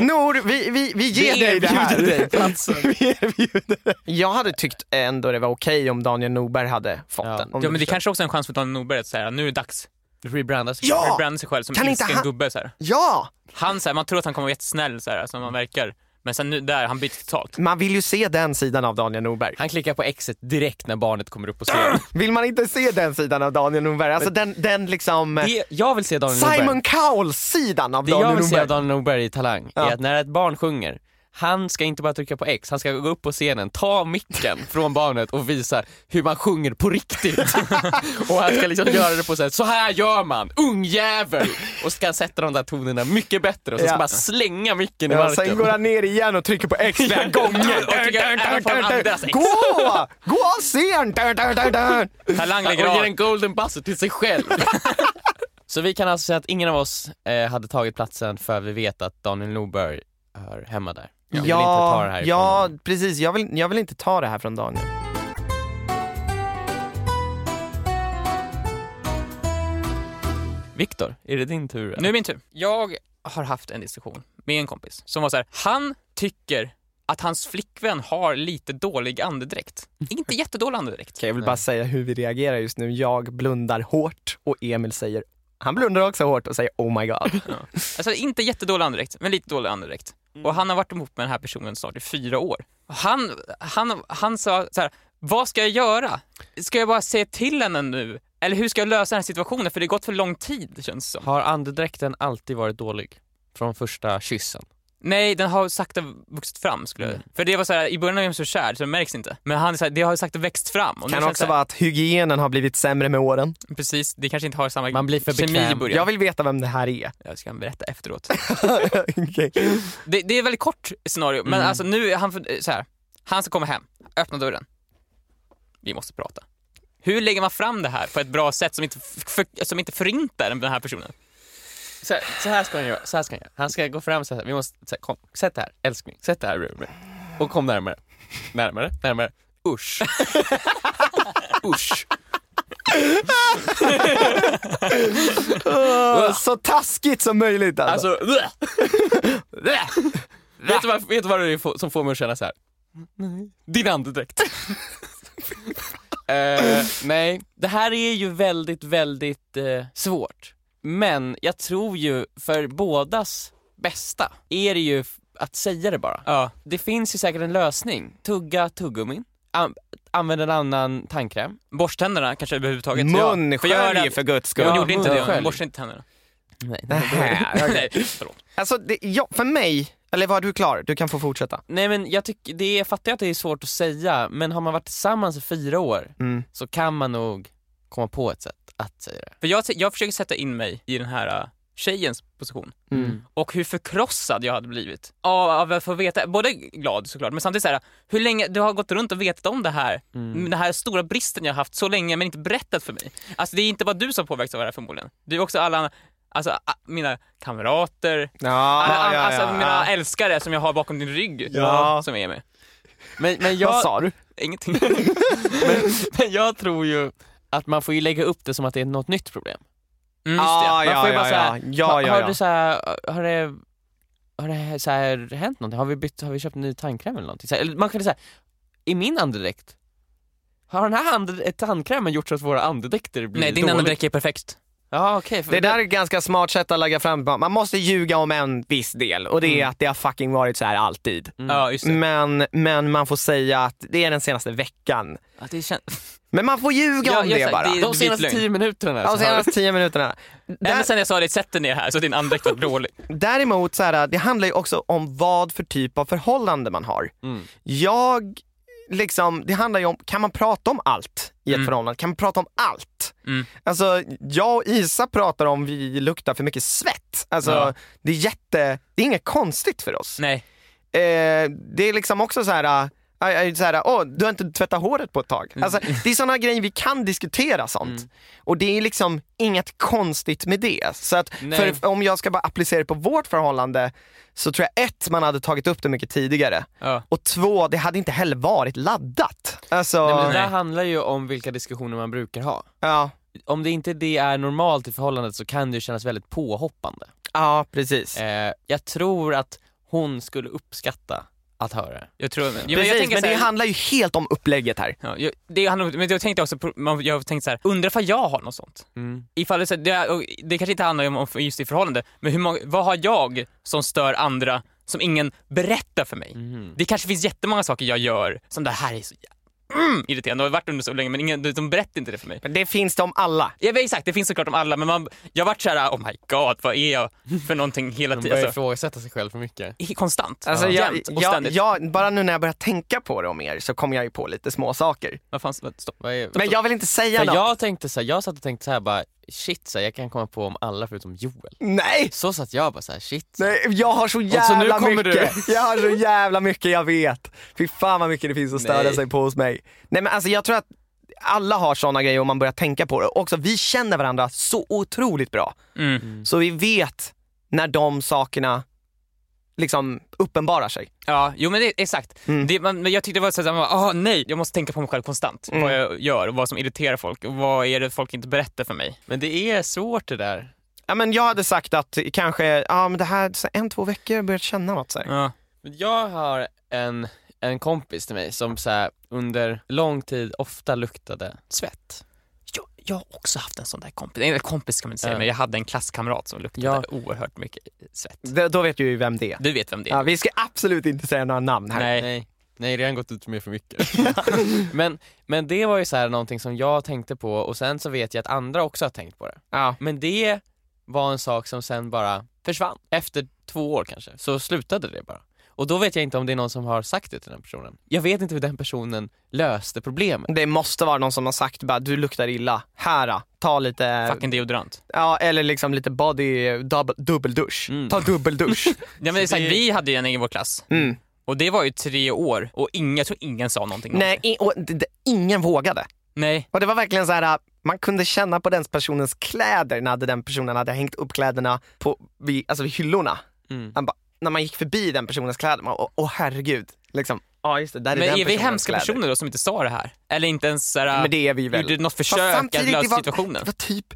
[SPEAKER 2] Nor vi, vi, vi ger
[SPEAKER 1] Vi
[SPEAKER 2] dig det här.
[SPEAKER 1] erbjuder dig platsen.
[SPEAKER 2] Vi erbjuder dig. Jag hade tyckt ändå det var okej om Daniel Norberg hade fått
[SPEAKER 1] Ja.
[SPEAKER 2] den. om
[SPEAKER 3] Ja
[SPEAKER 2] du
[SPEAKER 3] men det
[SPEAKER 2] förstår.
[SPEAKER 3] kanske också är en chans för Daniel Norberg att säga nu är det dags.
[SPEAKER 1] rebranda sig.
[SPEAKER 2] Ja!
[SPEAKER 3] Rebranda sig själv som
[SPEAKER 2] Kan inte
[SPEAKER 3] ilsken
[SPEAKER 2] han-
[SPEAKER 3] gubbe så här.
[SPEAKER 2] Ja!
[SPEAKER 3] Han så här, man tror att han kommer vara jättesnäll så här, som han verkar. Men sen nu där, han byter totalt.
[SPEAKER 2] Man vill ju se den sidan av Daniel Norberg.
[SPEAKER 1] Han klickar på exet direkt när barnet kommer upp på scen.
[SPEAKER 2] Vill man inte se den sidan av Daniel Norberg? Alltså den, den liksom...
[SPEAKER 1] Det jag vill se Daniel
[SPEAKER 2] Simon
[SPEAKER 1] Norberg,
[SPEAKER 2] Cowell-sidan av
[SPEAKER 1] det jag
[SPEAKER 2] Daniel
[SPEAKER 1] vill se
[SPEAKER 2] Norberg.
[SPEAKER 1] av Daniel Norberg i Talang
[SPEAKER 2] Ja.
[SPEAKER 1] är att när ett barn sjunger, han ska inte bara trycka på X, han ska gå upp på scenen, ta micken från barnet och visa hur man sjunger på riktigt. och han ska liksom göra det på så här, så här gör man, ungjävel! Och ska han sätta de där tonerna mycket bättre och så ska
[SPEAKER 2] Ja.
[SPEAKER 1] man slänga micken i
[SPEAKER 2] Ja,
[SPEAKER 1] marken.
[SPEAKER 2] sen går han ner igen och trycker på X flera gånger.
[SPEAKER 3] Och tycker även på andras X.
[SPEAKER 2] Gå! Gå av scen! Dun, dun, dun, dun.
[SPEAKER 1] Han
[SPEAKER 3] Talang lägger
[SPEAKER 1] ger en
[SPEAKER 3] av.
[SPEAKER 1] golden buzzer till sig själv. Så vi kan alltså säga att ingen av oss eh, hade tagit platsen för vi vet att Daniel Norberg hör hemma där. Vi vill inte ta det här ifrån
[SPEAKER 2] ja
[SPEAKER 1] honom.
[SPEAKER 2] precis. Jag vill, jag vill inte ta det här från Daniel.
[SPEAKER 1] Viktor, är det din tur? eller?
[SPEAKER 3] Nu är min tur. Jag har haft en diskussion med en kompis som var så här, han tycker att hans flickvän har lite dålig andedräkt. Inte jättedålig andedräkt.
[SPEAKER 2] Okej, jag vill bara säga hur vi reagerar just nu. Jag blundar hårt och Emil säger, han blundar också hårt och säger oh my god.
[SPEAKER 3] Alltså inte jättedålig andedräkt, men lite dålig andedräkt.
[SPEAKER 1] Mm.
[SPEAKER 3] Och han har varit ihop med den här personen snart i fyra år. Och Han, han, han sa så här, vad ska jag göra? Ska jag bara säga till henne nu? Eller hur ska jag lösa den här situationen? För det har gått för lång tid känns det som.
[SPEAKER 1] Har andedräkten alltid varit dålig? Från första kyssen?
[SPEAKER 3] Nej, den har sakta vuxit fram skulle jag
[SPEAKER 1] Mm.
[SPEAKER 3] För det var så här, i början av jag var så kär så det märks inte. Men han, är så här, det har sakta växt fram. Och nu
[SPEAKER 2] Kan
[SPEAKER 3] känns
[SPEAKER 2] också
[SPEAKER 3] det
[SPEAKER 2] vara att hygienen har blivit sämre med åren.
[SPEAKER 3] här, Precis, det kanske inte har samma
[SPEAKER 1] Man blir för
[SPEAKER 3] kemi i
[SPEAKER 1] bekväm.
[SPEAKER 3] början.
[SPEAKER 2] Jag vill veta vem det här är.
[SPEAKER 3] Jag ska berätta efteråt.
[SPEAKER 2] Okej.
[SPEAKER 3] Det, det är ett väldigt kort scenario, men
[SPEAKER 1] Mm.
[SPEAKER 3] alltså nu är han för, så här. Han ska komma hem, öppna dörren. Vi måste prata. Hur lägger man fram det här på ett bra sätt som inte, f- för, som inte förintar den här personen?
[SPEAKER 1] Så här, så här ska han göra, så här ska han göra. Han ska gå fram så här, vi måste, så här, kom, sätt det här, älskling, sätt det här bredvid mig. Och kom närmare. Närmare, närmare. Usch. Usch.
[SPEAKER 2] Åh, Så taskigt som möjligt alltså.
[SPEAKER 1] Alltså, vet, du vad, vet du vad det är få- som får mig att känna så här? Din andedräkt. Eh, nej, det här är ju väldigt, väldigt eh, svårt. Men jag tror ju för bådas bästa är det ju f- att säga det bara.
[SPEAKER 3] Ja.
[SPEAKER 1] Det finns ju säkert en lösning. Tugga tuggummin. An- använd en annan tandkräm.
[SPEAKER 3] Borsttänderna kanske överhuvudtaget.
[SPEAKER 2] Mun,
[SPEAKER 3] Ja, för jag gör
[SPEAKER 2] skölj
[SPEAKER 3] det-
[SPEAKER 2] för guds skull.
[SPEAKER 3] Hon
[SPEAKER 1] Ja,
[SPEAKER 3] gjorde inte det,
[SPEAKER 1] munskölj.
[SPEAKER 3] hon borstade inte tänderna.
[SPEAKER 1] Nej.
[SPEAKER 2] Nähä, okej.
[SPEAKER 3] Nej, förlåt.
[SPEAKER 2] Alltså, det, ja, för mig, eller var du klar? Du kan få fortsätta.
[SPEAKER 1] Nej men jag, tycker det är, fattar jag att det är svårt att säga, men har man varit tillsammans i fyra år
[SPEAKER 2] Mm.
[SPEAKER 1] så kan man nog komma på ett sätt att säga det.
[SPEAKER 3] För jag, jag försöker sätta in mig i den här äh, tjejens position.
[SPEAKER 2] Mm.
[SPEAKER 3] och hur förkrossad jag hade blivit av, av att få veta, både glad såklart men samtidigt så här, hur länge du har gått runt och vetat om det här,
[SPEAKER 1] Mm.
[SPEAKER 3] den här stora bristen jag har haft så länge men inte berättat för mig. Alltså det är inte bara du som påverkas av det här förmodligen. Det är också alla, alltså a- mina kamrater,
[SPEAKER 2] Ja,
[SPEAKER 3] alla,
[SPEAKER 2] ja,
[SPEAKER 3] an-
[SPEAKER 2] ja,
[SPEAKER 3] alltså
[SPEAKER 2] ja.
[SPEAKER 3] mina älskare som jag har bakom din rygg
[SPEAKER 2] Ja.
[SPEAKER 3] som är med.
[SPEAKER 1] Men, men,
[SPEAKER 2] Vad
[SPEAKER 1] jag,
[SPEAKER 2] sa du?
[SPEAKER 3] Ingenting.
[SPEAKER 1] men, men jag tror ju att man får ju lägga upp det som att det är något nytt problem.
[SPEAKER 3] Mm, just det.
[SPEAKER 2] Ja,
[SPEAKER 1] Man
[SPEAKER 2] ja,
[SPEAKER 1] får ju bara
[SPEAKER 2] ja,
[SPEAKER 1] så här,
[SPEAKER 2] ja. ja,
[SPEAKER 1] har, har
[SPEAKER 2] ja,
[SPEAKER 1] du så här, har det, har det så här hänt någonting? Har vi, bytt, har vi köpt en ny tandkräm eller någonting? Så här, eller man kan säga, i min andedräkt, har den här ande, tandkrämen gjort så att våra andedräkter blir
[SPEAKER 3] Nej, din
[SPEAKER 1] dåliga?
[SPEAKER 3] andedräkt är perfekt.
[SPEAKER 1] Ja okej. för-
[SPEAKER 2] Det där är ett ganska smart sätt att lägga fram Man måste ljuga om en viss del och det är att det har fucking varit så här alltid.
[SPEAKER 1] Mm.
[SPEAKER 3] Ja, Mm. just det.
[SPEAKER 2] Men, men man får säga att det är den senaste veckan.
[SPEAKER 3] Ja, det känns...
[SPEAKER 2] Men man får ljuga
[SPEAKER 3] Ja,
[SPEAKER 2] om
[SPEAKER 3] jag
[SPEAKER 2] det
[SPEAKER 3] sa-
[SPEAKER 2] bara.
[SPEAKER 3] det är-
[SPEAKER 1] De senaste
[SPEAKER 3] vitlögn.
[SPEAKER 1] tio minuterna.
[SPEAKER 2] De
[SPEAKER 1] så har-
[SPEAKER 2] senaste tio minuterna.
[SPEAKER 3] Ända
[SPEAKER 2] Där,
[SPEAKER 3] sen jag sa det, sätt dig ner här så din andedräkt var dålig.
[SPEAKER 2] däremot, så här, äh, det handlar ju också om vad för typ av förhållande man har.
[SPEAKER 1] Mm.
[SPEAKER 2] Jag, liksom, det handlar ju om, kan man prata om allt i ett
[SPEAKER 3] Mm.
[SPEAKER 2] förhållande? Kan man prata om allt?
[SPEAKER 3] Mm.
[SPEAKER 2] Alltså, jag och Isa pratar om vi luktar för mycket svett. Alltså,
[SPEAKER 3] Ja.
[SPEAKER 2] det är jätte, det är inget konstigt för oss.
[SPEAKER 3] Nej.
[SPEAKER 2] Eh, det är liksom också så här, äh, äh, så här åh, du har inte tvättat håret på ett tag.
[SPEAKER 3] Mm.
[SPEAKER 2] Alltså, det är sådana grejer vi kan diskutera sånt. Och det är liksom inget konstigt med det. Så att
[SPEAKER 1] Nej.
[SPEAKER 2] för, om jag ska bara applicera det på vårt förhållande så tror jag ett, man hade tagit upp det mycket tidigare.
[SPEAKER 3] Ja.
[SPEAKER 2] Och två, det hade inte heller varit laddat. Alltså,
[SPEAKER 1] Nej, men det där
[SPEAKER 3] Nej.
[SPEAKER 1] handlar ju om vilka diskussioner man brukar ha.
[SPEAKER 2] ja.
[SPEAKER 1] Om det inte det är normalt i förhållandet så kan det ju kännas väldigt påhoppande.
[SPEAKER 2] ja, precis.
[SPEAKER 1] Eh, jag tror att hon skulle uppskatta att höra det.
[SPEAKER 3] Jag tror... Jo, men jag
[SPEAKER 2] precis
[SPEAKER 3] tänker
[SPEAKER 2] men
[SPEAKER 3] så
[SPEAKER 2] det
[SPEAKER 3] här-
[SPEAKER 2] handlar ju helt om upplägget här.
[SPEAKER 3] Ja, jag, det handlar, om- men jag tänkte också på, man- jag tänkte så här, undrar ifall jag har något sånt?
[SPEAKER 2] Mm.
[SPEAKER 3] Ifall det, så här, det, är- och det kanske inte handlar om om just i förhållande, men hur många, vad har jag som stör andra som ingen berättar för mig? Det kanske finns jättemånga saker jag gör som det här är så jä- mm, irriterande, och har varit under så länge men ingen, de- de berättar inte det för mig.
[SPEAKER 2] Men det finns det om alla.
[SPEAKER 3] Ja, men exakt, det finns såklart om alla men man, jag har varit såhär oh my god vad är jag för någonting hela
[SPEAKER 1] Hon
[SPEAKER 3] tiden.
[SPEAKER 1] börjar
[SPEAKER 3] Alltså,
[SPEAKER 1] ifrågasätta sig själv för mycket.
[SPEAKER 3] i- konstant,
[SPEAKER 2] Alltså, jag,
[SPEAKER 3] jämt och
[SPEAKER 2] jag,
[SPEAKER 3] ständigt.
[SPEAKER 2] jag, bara nu när jag börjar tänka på det om er så kommer jag ju på lite små saker.
[SPEAKER 3] Vad fan, vad- stopp.
[SPEAKER 1] Vad är,
[SPEAKER 2] Men jag vill inte säga
[SPEAKER 1] för
[SPEAKER 2] något.
[SPEAKER 1] jag tänkte så här, jag satt och tänkte så här bara, shit så här, jag kan komma på om alla förutom Joel.
[SPEAKER 2] Nej!
[SPEAKER 1] Så satt jag bara så här, shit.
[SPEAKER 2] Nej, jag har så jävla
[SPEAKER 1] så nu kommer
[SPEAKER 2] mycket. Jag har så jävla mycket jag vet. Fy fan vad mycket det finns att störa
[SPEAKER 1] Nej.
[SPEAKER 2] sig på hos mig. Nej men alltså jag tror att alla har såna grejer om man börjar tänka på det. Också vi känner varandra så otroligt bra.
[SPEAKER 3] Mm.
[SPEAKER 2] Så vi vet när de sakerna liksom uppenbarar sig.
[SPEAKER 3] Ja, jo men det, exakt.
[SPEAKER 2] Mm.
[SPEAKER 3] Det, man, men jag tyckte det var såhär, man bara, ah nej, jag måste tänka på mig själv konstant.
[SPEAKER 2] Mm.
[SPEAKER 3] Vad jag gör och vad som irriterar folk och vad är det folk inte berättar för mig.
[SPEAKER 1] Men det är svårt det där.
[SPEAKER 2] Ja, men jag hade sagt att kanske ja, men det här, så en, två veckor har jag börjat känna något. Så här.
[SPEAKER 3] Ja.
[SPEAKER 1] Men Jag har en, en kompis till mig som så här, under lång tid ofta luktade svett.
[SPEAKER 3] Jag, jag har också haft en sån där kompis, eller kompis kan man inte säga,
[SPEAKER 1] Ja.
[SPEAKER 3] men jag hade en klasskamrat som luktade
[SPEAKER 1] Ja.
[SPEAKER 3] oerhört mycket svett.
[SPEAKER 2] Det- Då vet du ju vem det är.
[SPEAKER 3] Du vet vem det är?
[SPEAKER 2] Ja, vi ska absolut inte säga några namn här.
[SPEAKER 3] nej.
[SPEAKER 1] Nej, nej redan gått ut med för mycket. men, men det var ju så här någonting som jag tänkte på och sen så vet jag att andra också har tänkt på det.
[SPEAKER 2] Ja.
[SPEAKER 1] Men det var en sak som sen bara försvann efter två år kanske, så slutade det bara. Och då vet jag inte om det är någon som har sagt det till den personen. Jag vet inte hur den personen löste problemet.
[SPEAKER 2] Det måste vara någon som har sagt bara du luktar illa, här då, ta lite,
[SPEAKER 3] Fucking deodorant.
[SPEAKER 2] ja eller liksom lite body, dub, dubbeldusch.
[SPEAKER 1] Mm.
[SPEAKER 2] Ta dubbeldusch.
[SPEAKER 3] Ja, men det är så här, Vi hade ju en i vår klass
[SPEAKER 2] Mm.
[SPEAKER 3] och det var ju tre år och ingen, jag tror ingen sa någonting om
[SPEAKER 2] Nej, i- och, d- d- ingen vågade.
[SPEAKER 3] det. Nej.
[SPEAKER 2] Och det var verkligen så här, ah, man kunde känna på den personens kläder när den personen hade hängt upp kläderna på, vid, alltså vid hyllorna.
[SPEAKER 1] Mm.
[SPEAKER 2] Man bara- när man gick förbi den personens kläder, man åh åh, herregud. Liksom, ja just det, där är
[SPEAKER 3] men
[SPEAKER 2] den
[SPEAKER 3] är vi
[SPEAKER 2] personens
[SPEAKER 3] hemska
[SPEAKER 2] kläder.
[SPEAKER 3] personer då som inte sa det här? Eller inte ens så här,
[SPEAKER 2] Men det är vi väl.
[SPEAKER 3] gjorde något
[SPEAKER 2] Fast
[SPEAKER 3] försök att
[SPEAKER 2] samtidigt, det
[SPEAKER 3] lösa
[SPEAKER 2] var-
[SPEAKER 3] situationen?
[SPEAKER 2] Det var typ,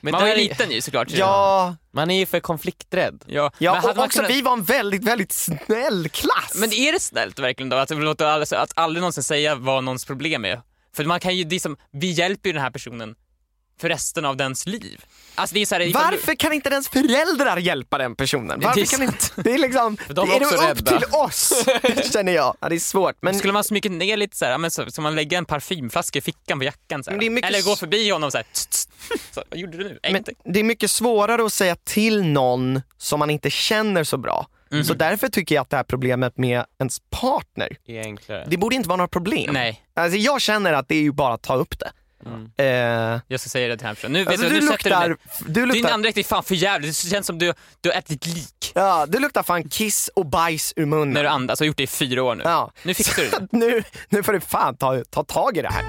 [SPEAKER 1] Men
[SPEAKER 3] man var ju
[SPEAKER 1] där är-
[SPEAKER 3] liten ju såklart.
[SPEAKER 2] ja,
[SPEAKER 1] Man är ju för konflikträdd.
[SPEAKER 3] ja.
[SPEAKER 2] ja
[SPEAKER 3] Men hade
[SPEAKER 2] och
[SPEAKER 3] man
[SPEAKER 2] också
[SPEAKER 3] kunnat-
[SPEAKER 2] vi var en väldigt, väldigt snäll klass.
[SPEAKER 3] Men är det snällt verkligen då att låta alla- att aldrig någonsin säga vad någons problem är? För man kan ju, det är som, vi hjälper ju den här personen för resten av dens liv. Alltså det är så här, ifall du-
[SPEAKER 2] Varför kan inte ens föräldrar hjälpa den personen? Varför
[SPEAKER 3] är
[SPEAKER 2] kan inte, det är liksom,
[SPEAKER 1] de är
[SPEAKER 2] är det
[SPEAKER 1] också
[SPEAKER 2] upp
[SPEAKER 1] rädda.
[SPEAKER 2] till oss? Känner jag. Ja, det är svårt. Men
[SPEAKER 3] Skulle man smyga ner lite så här, ja, men så, så man lägger en parfymflaska i fickan på jackan så här,
[SPEAKER 2] Men det är mycket
[SPEAKER 3] Eller gå
[SPEAKER 2] s-
[SPEAKER 3] förbi honom så här. tss, tss. Så, vad gjorde du nu?
[SPEAKER 2] Men
[SPEAKER 3] Ingenting.
[SPEAKER 2] det är mycket svårare att säga till någon som man inte känner så bra.
[SPEAKER 3] Mhm.
[SPEAKER 2] Så därför tycker jag att det här problemet med ens partner,
[SPEAKER 1] Är enklare.
[SPEAKER 2] det borde inte vara något problem.
[SPEAKER 3] Nej,
[SPEAKER 2] Alltså jag känner att det är ju bara att ta upp det. Eh,
[SPEAKER 3] jag ska säga det till den här personen. Nu,
[SPEAKER 2] alltså
[SPEAKER 3] vet du,
[SPEAKER 2] du,
[SPEAKER 3] du sätter
[SPEAKER 2] luktar,
[SPEAKER 3] dig ner.
[SPEAKER 2] du,
[SPEAKER 3] Din
[SPEAKER 2] luktar,
[SPEAKER 3] andedräkt är fan för jävligt. Det känns som du, du har ätit lik
[SPEAKER 2] ja, du luktar fan kiss och bajs ur munnen.
[SPEAKER 3] när du andas. Jag har gjort det i fyra år nu.
[SPEAKER 2] Ja.
[SPEAKER 3] Nu fixar du det.
[SPEAKER 2] nu, nu får du fan ta, ta tag i det här.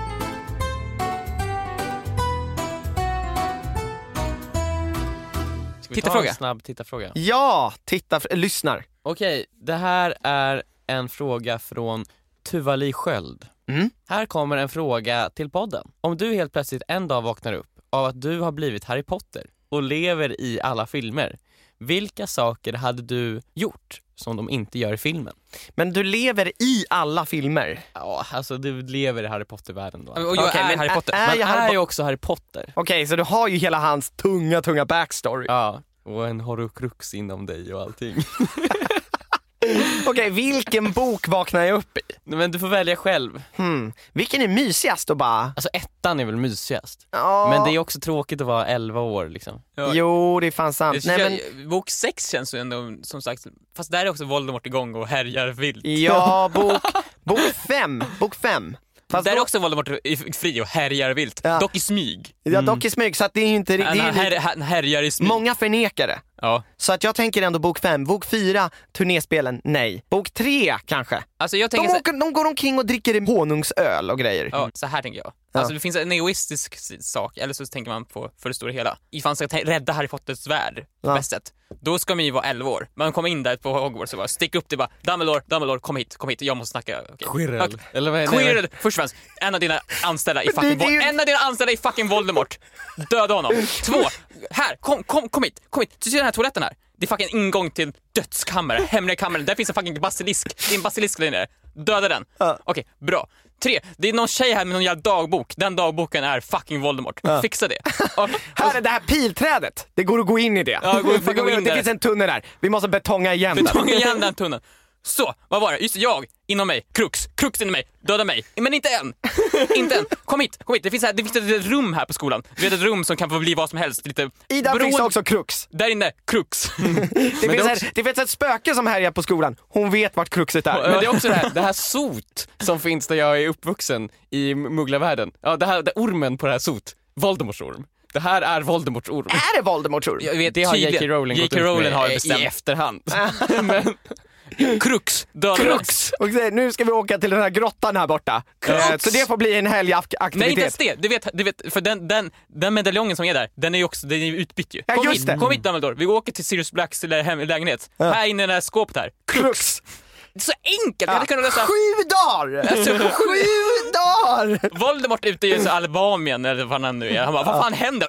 [SPEAKER 1] Ska vi ta
[SPEAKER 3] Tittarfråga.
[SPEAKER 1] en snabb tittarfråga?
[SPEAKER 2] Ja, titta, lyssnar.
[SPEAKER 1] Okej, det här är en fråga från Tuvali Sköld.
[SPEAKER 2] Mm.
[SPEAKER 1] Här kommer en fråga till podden. Om du helt plötsligt en dag vaknar upp av att du har blivit Harry Potter och lever i alla filmer, vilka saker hade du gjort som de inte gör i filmen?
[SPEAKER 2] Men du lever i alla filmer.
[SPEAKER 1] Ja, alltså du lever i Harry Potter-världen då.
[SPEAKER 3] Ja, men-
[SPEAKER 1] Man
[SPEAKER 3] Och jag
[SPEAKER 2] Okej,
[SPEAKER 3] är
[SPEAKER 2] men äh,
[SPEAKER 3] Harry
[SPEAKER 2] ä-
[SPEAKER 3] Potter.
[SPEAKER 2] ä- jag Harry
[SPEAKER 1] är
[SPEAKER 2] Po-
[SPEAKER 1] ju också Harry Potter.
[SPEAKER 2] Okej, så du har ju hela hans tunga, tunga backstory.
[SPEAKER 1] Ja, och en horrocrux inom dig och allting.
[SPEAKER 2] Okej, vilken bok vaknar jag upp i?
[SPEAKER 1] Nej, men du får välja själv.
[SPEAKER 2] Hmm. Vilken är mysigast och bara...
[SPEAKER 1] Alltså ettan är väl mysigast?
[SPEAKER 2] Ja,
[SPEAKER 1] Men det är också tråkigt att vara 11 år liksom.
[SPEAKER 3] Ja.
[SPEAKER 2] Jo, det är fan
[SPEAKER 3] Det
[SPEAKER 2] sant. Nej, men,
[SPEAKER 3] känns- Bok 6 känns ju ändå som sagt, fast där är också Voldemort igång och härjar vilt.
[SPEAKER 2] ja, bok, bok fem. Bok fem. Fast
[SPEAKER 3] där är
[SPEAKER 2] då-
[SPEAKER 3] också Voldemort i- fri och härjar vilt,
[SPEAKER 2] alltså- Ja.
[SPEAKER 3] dock i smyg.
[SPEAKER 2] ja, dock i smyg, så att det är ju inte... Det
[SPEAKER 3] Han,
[SPEAKER 2] är ju
[SPEAKER 3] Mm. här,
[SPEAKER 2] lite,
[SPEAKER 3] han härjar i smyg.
[SPEAKER 2] många förnekar det.
[SPEAKER 3] Ja.
[SPEAKER 2] Så att jag tänker ändå bok fem. Bok fyra, turnéspelen, nej. Bok tre kanske.
[SPEAKER 3] Alltså jag
[SPEAKER 2] De,
[SPEAKER 3] tänker så,
[SPEAKER 2] åker, de går omkring och dricker honungsöl och grejer.
[SPEAKER 3] ja, så här tänker jag. Alltså det finns en egoistisk s- sak, eller så tänker man på för det stora hela. Ifall man ska ta- rädda Harry Potters värld på
[SPEAKER 2] Ja.
[SPEAKER 3] bäst sätt, då ska man ju vara 11 år. Man kommer in där på Hogwarts och bara sticker upp det bara Dumbledore, Dumbledore kom hit, kom hit, jag måste snacka. Okay.
[SPEAKER 1] Squirrel. Eller vad är
[SPEAKER 3] Queer, först och främst, en av dina anställda i fucking,
[SPEAKER 2] det är ju-
[SPEAKER 3] Vol- en av dina anställda i fucking Voldemort. Döda honom. Två, här, kom, kom, kom hit, kom hit. Du ser den här toaletten här? Det är fucking ingång till dödskammare, hemliga kammaren. Där finns en fucking basilisk. Det är en basilisk där nere. Döda den.
[SPEAKER 2] Ja.
[SPEAKER 3] Okej, bra. Tre, det är någon tjej här med någon jävla dagbok. Den dagboken är fucking Voldemort. Fixa det. Och,
[SPEAKER 2] Här är det här pilträdet, det går att gå in i det.
[SPEAKER 3] Ja, gå in-
[SPEAKER 2] det,
[SPEAKER 3] gå in
[SPEAKER 2] det
[SPEAKER 3] där.
[SPEAKER 2] finns en tunnel där, vi måste betonga igen den.
[SPEAKER 3] Betong igen den tunneln. Så, vad var det? Just det, jag, inom mig, krux, krux inom mig, döda mig. Men inte än! inte än. Kom hit, kom hit. Det finns, här, det finns ett litet rum här på skolan. Du vet ett rum som kan få bli vad som helst. Lite
[SPEAKER 2] I den
[SPEAKER 3] beroende-
[SPEAKER 2] finns också krux.
[SPEAKER 3] Där inne, krux.
[SPEAKER 2] Det finns,
[SPEAKER 1] det är
[SPEAKER 2] ett, det finns ett spöke som härjar på skolan, hon vet vart kruxet är.
[SPEAKER 1] Men det är också det här, det här sot som finns där jag är uppvuxen i m- mugglarvärlden. Ja, det här, det ormen på det här sot. Voldemorts orm. Det här är Voldemorts orm.
[SPEAKER 2] är Äh, det Voldemort tror du?
[SPEAKER 3] vet,
[SPEAKER 1] Det har J.K. Rowling gått
[SPEAKER 3] J.K.
[SPEAKER 1] ut med Eh,
[SPEAKER 3] Rowling har
[SPEAKER 1] i-
[SPEAKER 3] bestämt.
[SPEAKER 1] i efterhand.
[SPEAKER 3] Krux, döda
[SPEAKER 2] Krux! Och så, nu ska vi åka till den här grottan här borta.
[SPEAKER 3] Krux!
[SPEAKER 2] Eh, Så det får bli en
[SPEAKER 3] Nej inte ens
[SPEAKER 2] helgaktivitet.
[SPEAKER 3] det, du vet, du vet för den, den, den medaljongen som är där, den är ju också, den är ju utbytt ju.
[SPEAKER 2] Ja,
[SPEAKER 3] Kom
[SPEAKER 2] just
[SPEAKER 3] hit,
[SPEAKER 2] det.
[SPEAKER 3] kom hit Dumbledore, vi åker till Sirius Blacks lä- hem- lägenhet. Här inne i det här skåpet här.
[SPEAKER 2] Krux!
[SPEAKER 3] Så enkelt! Jag hade kunnat lösa
[SPEAKER 2] Sju dagar!
[SPEAKER 3] Alltså,
[SPEAKER 2] Sju dagar!
[SPEAKER 3] Voldemort ute i så Albanien eller vad han nu är. Han bara, vad fan händer?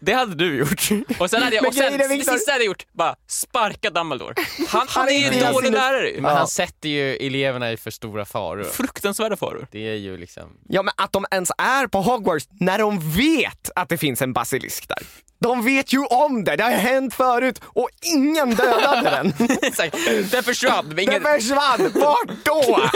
[SPEAKER 1] Det hade du gjort.
[SPEAKER 3] Och sen hade jag,
[SPEAKER 2] Men
[SPEAKER 3] och sen,
[SPEAKER 2] grejen är,
[SPEAKER 3] det
[SPEAKER 2] Victor-
[SPEAKER 3] sista hade jag gjort, bara sparka Dumbledore. Han, han är ju
[SPEAKER 2] inte
[SPEAKER 3] en dålig
[SPEAKER 2] ens-
[SPEAKER 3] lärare ju.
[SPEAKER 1] Men han sätter ju eleverna i för stora faror.
[SPEAKER 3] Fruktansvärda faror.
[SPEAKER 1] Det är ju liksom...
[SPEAKER 2] Ja men att de ens är på Hogwarts när de vet att det finns en basilisk där. De vet ju om det, det har hänt förut och ingen dödade den.
[SPEAKER 3] Exakt. Den försvann. men
[SPEAKER 2] Den
[SPEAKER 3] Ingen...
[SPEAKER 2] försvann, vart då?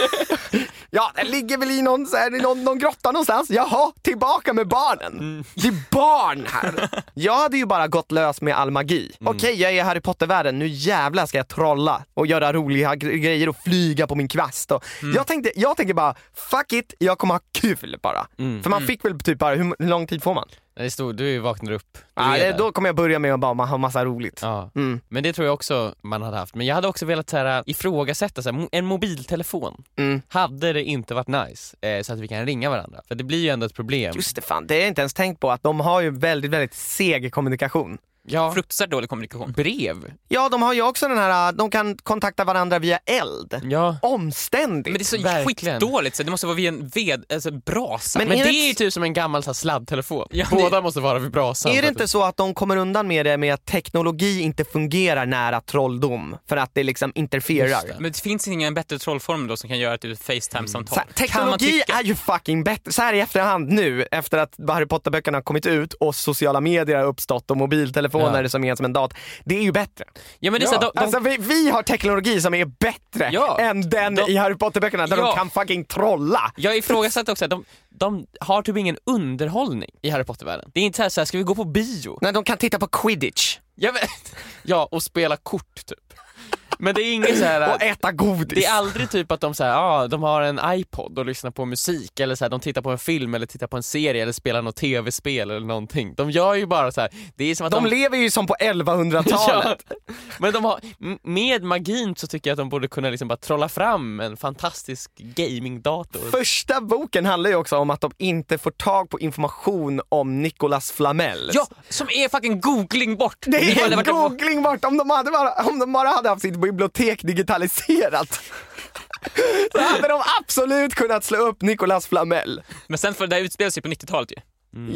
[SPEAKER 2] Ja, den ligger väl i någon, så här, i någon, någon grotta någonstans. Jaha, tillbaka med barnen. Det är barn här. Jag hade ju bara gått lös med all magi. Okej, jag är i Harry Potter-världen. Nu jävlar ska jag trolla och göra roliga gre- grejer och flyga på min kvast. Och jag, tänkte, jag tänker bara, fuck it, jag kommer ha kul bara. För man fick väl typ bara, hur, hur lång tid får man?
[SPEAKER 1] Det stod, du vaknar upp. Du
[SPEAKER 2] Ah,
[SPEAKER 1] är
[SPEAKER 2] det-
[SPEAKER 1] där.
[SPEAKER 2] då kommer jag börja med att bara ha massa roligt.
[SPEAKER 1] Ja.
[SPEAKER 2] Mm.
[SPEAKER 1] Men det tror jag också man hade haft. Men jag hade också velat så här, äh, ifrågasätta, så här, mo- en mobiltelefon,
[SPEAKER 2] Mm.
[SPEAKER 1] hade det inte varit nice eh, så att vi kan ringa varandra? För det blir ju ändå ett problem.
[SPEAKER 2] Just det, fan, det har jag inte ens tänkt på att de har ju väldigt, väldigt seg kommunikation.
[SPEAKER 1] Ja,
[SPEAKER 3] Fruktansvärt dålig kommunikation.
[SPEAKER 1] brev.
[SPEAKER 2] Ja, de har ju också den här, äh, de kan kontakta varandra via eld.
[SPEAKER 1] Ja.
[SPEAKER 2] Omständigt.
[SPEAKER 3] Men det är så
[SPEAKER 1] Verkligen.
[SPEAKER 3] skitdåligt, så det måste vara vid en ved, alltså brasa.
[SPEAKER 2] Men
[SPEAKER 1] Men,
[SPEAKER 2] är
[SPEAKER 1] det
[SPEAKER 2] det
[SPEAKER 1] är ju
[SPEAKER 2] ett-
[SPEAKER 1] typ som en gammal så här, sladdtelefon.
[SPEAKER 3] Ja, det-
[SPEAKER 1] Båda måste vara vid brasan.
[SPEAKER 2] Är
[SPEAKER 1] för
[SPEAKER 2] det
[SPEAKER 1] att-
[SPEAKER 2] inte så att de kommer undan med det med att teknologi inte fungerar nära trolldom för att det liksom interfererar?
[SPEAKER 1] Just det.
[SPEAKER 3] Men det finns ingen bättre trollform då som kan göra ett typ
[SPEAKER 2] Så här,
[SPEAKER 3] Facetime-samtal? Kan man
[SPEAKER 2] Mm. teknologi
[SPEAKER 3] tycka.
[SPEAKER 2] är ju fucking bättre. Så här i efterhand nu, efter att Harry Potter-böckerna har kommit ut och sociala medier har uppstått och mobiltelefoner
[SPEAKER 1] Ja.
[SPEAKER 2] som är som en dator. Det är ju bättre.
[SPEAKER 1] Ja, men det är så här, de, de,
[SPEAKER 2] Alltså vi, vi har teknologi som är bättre
[SPEAKER 1] Ja.
[SPEAKER 2] än den
[SPEAKER 1] De-
[SPEAKER 2] i Harry Potter-böckerna där
[SPEAKER 3] Ja.
[SPEAKER 2] de kan fucking trolla.
[SPEAKER 1] Jag ifrågasätter också att de, de har typ ingen underhållning i Harry Potter-världen. Det är inte så här, så här ska vi gå på bio?
[SPEAKER 2] När de kan titta på quidditch
[SPEAKER 1] Jag vet. Ja, och spela kort typ. Men det är inget så här...
[SPEAKER 2] och äta godis.
[SPEAKER 1] Det är aldrig typ att de, så här, ah, de har en iPod och lyssnar på musik eller så här, de tittar på en film eller tittar på en serie eller spelar något tv-spel eller någonting. De gör ju bara så här. det är som att
[SPEAKER 2] De
[SPEAKER 1] de...
[SPEAKER 2] lever ju som på 1100-talet.
[SPEAKER 1] Ja. Men de har, m- med magin så tycker jag att de borde kunna liksom bara trolla fram en fantastisk gamingdator.
[SPEAKER 2] Första boken handlar ju också om att de inte får tag på information om Nicolas Flamel.
[SPEAKER 3] Ja, som är fucking googling bort!
[SPEAKER 2] Det är
[SPEAKER 3] hade
[SPEAKER 2] en
[SPEAKER 3] varit-
[SPEAKER 2] googling bort om de, hade bara, om de bara hade haft sitt bibliotek digitaliserat. Då hade de absolut kunnat slå upp Nicolas Flamel.
[SPEAKER 3] Men sen för det här utspelar sig på 90-talet ju.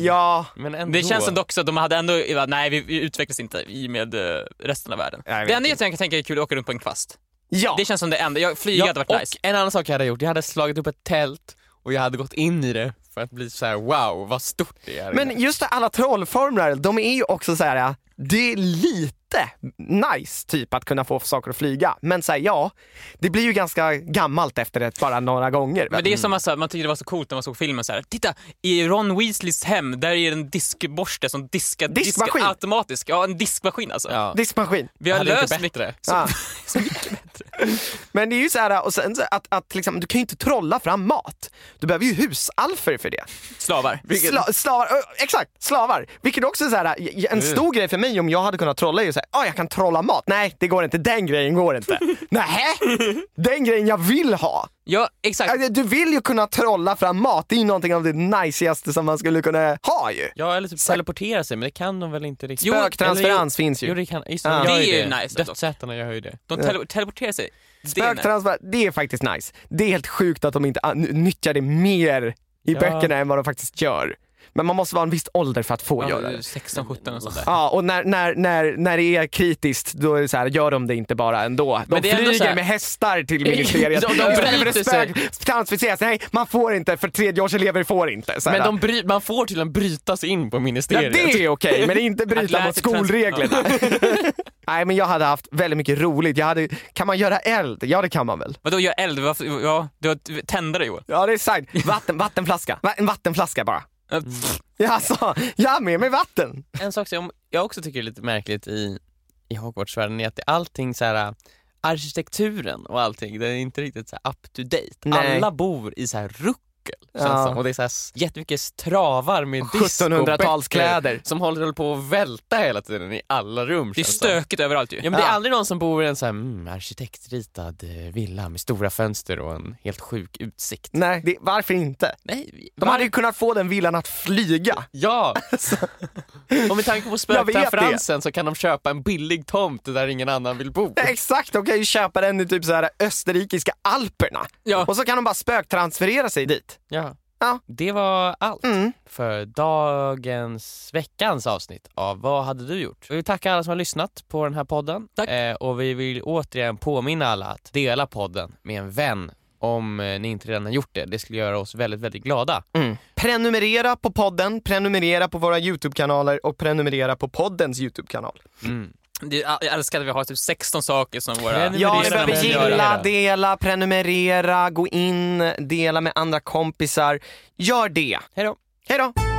[SPEAKER 2] Ja,
[SPEAKER 1] Men ändå.
[SPEAKER 3] Det känns som dock så att de hade ändå, nej vi, vi utvecklas inte i med eh, resten av världen.
[SPEAKER 2] Jag vet
[SPEAKER 3] det enda jag tänker tänka är kul att åka runt på en kvast.
[SPEAKER 2] ja.
[SPEAKER 3] Det känns som det enda, jag, flyga
[SPEAKER 1] Ja,
[SPEAKER 3] hade varit
[SPEAKER 1] och
[SPEAKER 3] nice.
[SPEAKER 1] en annan sak jag hade gjort, jag hade slagit upp ett tält och jag hade gått in i det för att bli så här: wow vad stort det är.
[SPEAKER 2] Men just det, alla trollformler, de är ju också så här. det är lite nice typ att kunna få saker att flyga. Men så här, ja, det blir ju ganska gammalt efter det bara några gånger.
[SPEAKER 3] Men det är som man, så här, man tyckte det var så coolt när man såg filmen så här. titta i Ron Weasleys hem där är en diskborste som diskar
[SPEAKER 2] Diskmaskin.
[SPEAKER 3] diskar automatiskt. Ja en diskmaskin alltså.
[SPEAKER 1] ja.
[SPEAKER 2] Diskmaskin.
[SPEAKER 3] Vi har
[SPEAKER 1] Hade inte
[SPEAKER 3] löst mycket.
[SPEAKER 1] bättre.
[SPEAKER 3] Så,
[SPEAKER 2] Ja.
[SPEAKER 3] så mycket bättre.
[SPEAKER 2] Men det är ju så här, och sen så att, att liksom, du kan ju inte trolla fram mat. Du behöver ju husalfer för det.
[SPEAKER 3] Slavar.
[SPEAKER 2] Sla, slavar, ö, exakt, slavar. Vilket också är så här, j-
[SPEAKER 3] Mm.
[SPEAKER 2] en stor grej för mig om jag hade kunnat trolla är ju såhär, ah, jag kan trolla mat. Nej, det går inte. Den grejen går inte. Nej, den grejen jag vill ha.
[SPEAKER 3] Ja exakt.
[SPEAKER 2] Alltså, Du vill ju kunna trolla fram mat, det är ju någonting av det najsigaste som man skulle kunna ha ju.
[SPEAKER 1] Ja eller typ teleportera sig men det kan de väl inte riktigt?
[SPEAKER 3] Jo,
[SPEAKER 2] Spöktransferens finns
[SPEAKER 1] Jo
[SPEAKER 2] ju.
[SPEAKER 1] det kan, just det,
[SPEAKER 2] Ja.
[SPEAKER 1] de gör
[SPEAKER 3] Det
[SPEAKER 1] ju
[SPEAKER 3] är
[SPEAKER 1] det.
[SPEAKER 3] ju nice dock.
[SPEAKER 1] Dödsätarna gör ju det.
[SPEAKER 3] De tele- teleporterar sig. Det är nice.
[SPEAKER 2] Spöktransfer, det är faktiskt nice. Det är helt sjukt att de inte an- nyttjar det mer i
[SPEAKER 1] Ja.
[SPEAKER 2] böckerna än vad de faktiskt gör. Men man måste vara en viss ålder för att få
[SPEAKER 3] Ja,
[SPEAKER 2] göra det.
[SPEAKER 3] 16, 17 och sånt där.
[SPEAKER 2] Ja, och när, när, när, när det är kritiskt, då är det så här, gör de det inte bara ändå. De
[SPEAKER 1] Men det är ändå
[SPEAKER 2] flyger
[SPEAKER 1] så här-
[SPEAKER 2] med hästar till ministeriet.
[SPEAKER 1] De- de
[SPEAKER 2] Istället för
[SPEAKER 1] bryter
[SPEAKER 2] att
[SPEAKER 1] sig.
[SPEAKER 2] spök- Transficeras, nej man får inte, för tredjeårselever får inte. Så här.
[SPEAKER 1] Men de bry, man får till och med bryta sig in på
[SPEAKER 2] Ja,
[SPEAKER 1] ministeriet.
[SPEAKER 2] det är okej, men det är inte
[SPEAKER 3] Att
[SPEAKER 2] bryta
[SPEAKER 3] lära
[SPEAKER 2] mot
[SPEAKER 3] sig trans-
[SPEAKER 2] skolreglerna. Nej, men jag hade haft väldigt mycket roligt. Jag hade, kan man göra eld? Ja, det kan man väl?
[SPEAKER 3] Vadå gör eld? Varför- Ja, du har tändare Joel.
[SPEAKER 2] Ja, det är sant. Vatten, vattenflaska. Va- en vattenflaska bara.
[SPEAKER 3] Ja,
[SPEAKER 2] Ja, så, jag har med mig vatten.
[SPEAKER 1] En sak som jag också tycker är lite märkligt i, i Hogwartsvärlden är att det är allting så här äh, arkitekturen och allting, det är inte riktigt så här up to date.
[SPEAKER 2] Nej.
[SPEAKER 1] Alla bor i så här ruckel känns
[SPEAKER 2] Ja.
[SPEAKER 1] som. och det är så här s- jättemycket travar med disco och
[SPEAKER 2] 1700-talskläder.
[SPEAKER 1] böcker Som håller håller på att välta hela tiden i alla rum
[SPEAKER 3] Det är
[SPEAKER 1] känns som.
[SPEAKER 3] stökigt överallt ju.
[SPEAKER 1] Ja, men det är
[SPEAKER 2] Ja.
[SPEAKER 1] aldrig någon som bor i en så här, mm, arkitektritad eh, villa med stora fönster och en helt sjuk utsikt.
[SPEAKER 2] Nej, det, varför inte?
[SPEAKER 1] Nej,
[SPEAKER 2] De hade ju kunnat få den villan att flyga.
[SPEAKER 1] Ja! och med tanke på
[SPEAKER 2] Alltså. Jag vet det.
[SPEAKER 1] spökpreferensen så kan de köpa en billig tomt där ingen annan vill bo.
[SPEAKER 2] Nej, Exakt, de kan ju köpa den i typ så här österrikiska alperna.
[SPEAKER 3] Ja.
[SPEAKER 2] Och så kan de bara spöktransferera sig dit.
[SPEAKER 1] Ja.
[SPEAKER 2] Ja.
[SPEAKER 1] Det var allt
[SPEAKER 2] Mm.
[SPEAKER 1] för dagens, veckans avsnitt av Vad hade du gjort? Vi vill tacka alla som har lyssnat på den här podden.
[SPEAKER 3] Tack.
[SPEAKER 1] Eh, och vi vill återigen påminna alla att dela podden med en vän om eh, ni inte redan har gjort det. Det skulle göra oss väldigt, väldigt glada.
[SPEAKER 2] Mm. Prenumerera på podden, prenumerera på våra YouTube-kanaler och prenumerera på poddens YouTube-kanal.
[SPEAKER 1] Mm.
[SPEAKER 3] Det- Jag älskar att vi har typ 16 saker som våra...
[SPEAKER 1] Prenumerera.
[SPEAKER 2] Ja, ni
[SPEAKER 1] Prenumerera.
[SPEAKER 2] behöver gilla,
[SPEAKER 1] Prenumerera.
[SPEAKER 2] dela, prenumerera, gå in, dela med andra kompisar. Gör det.
[SPEAKER 1] Hej då.
[SPEAKER 2] Hej då!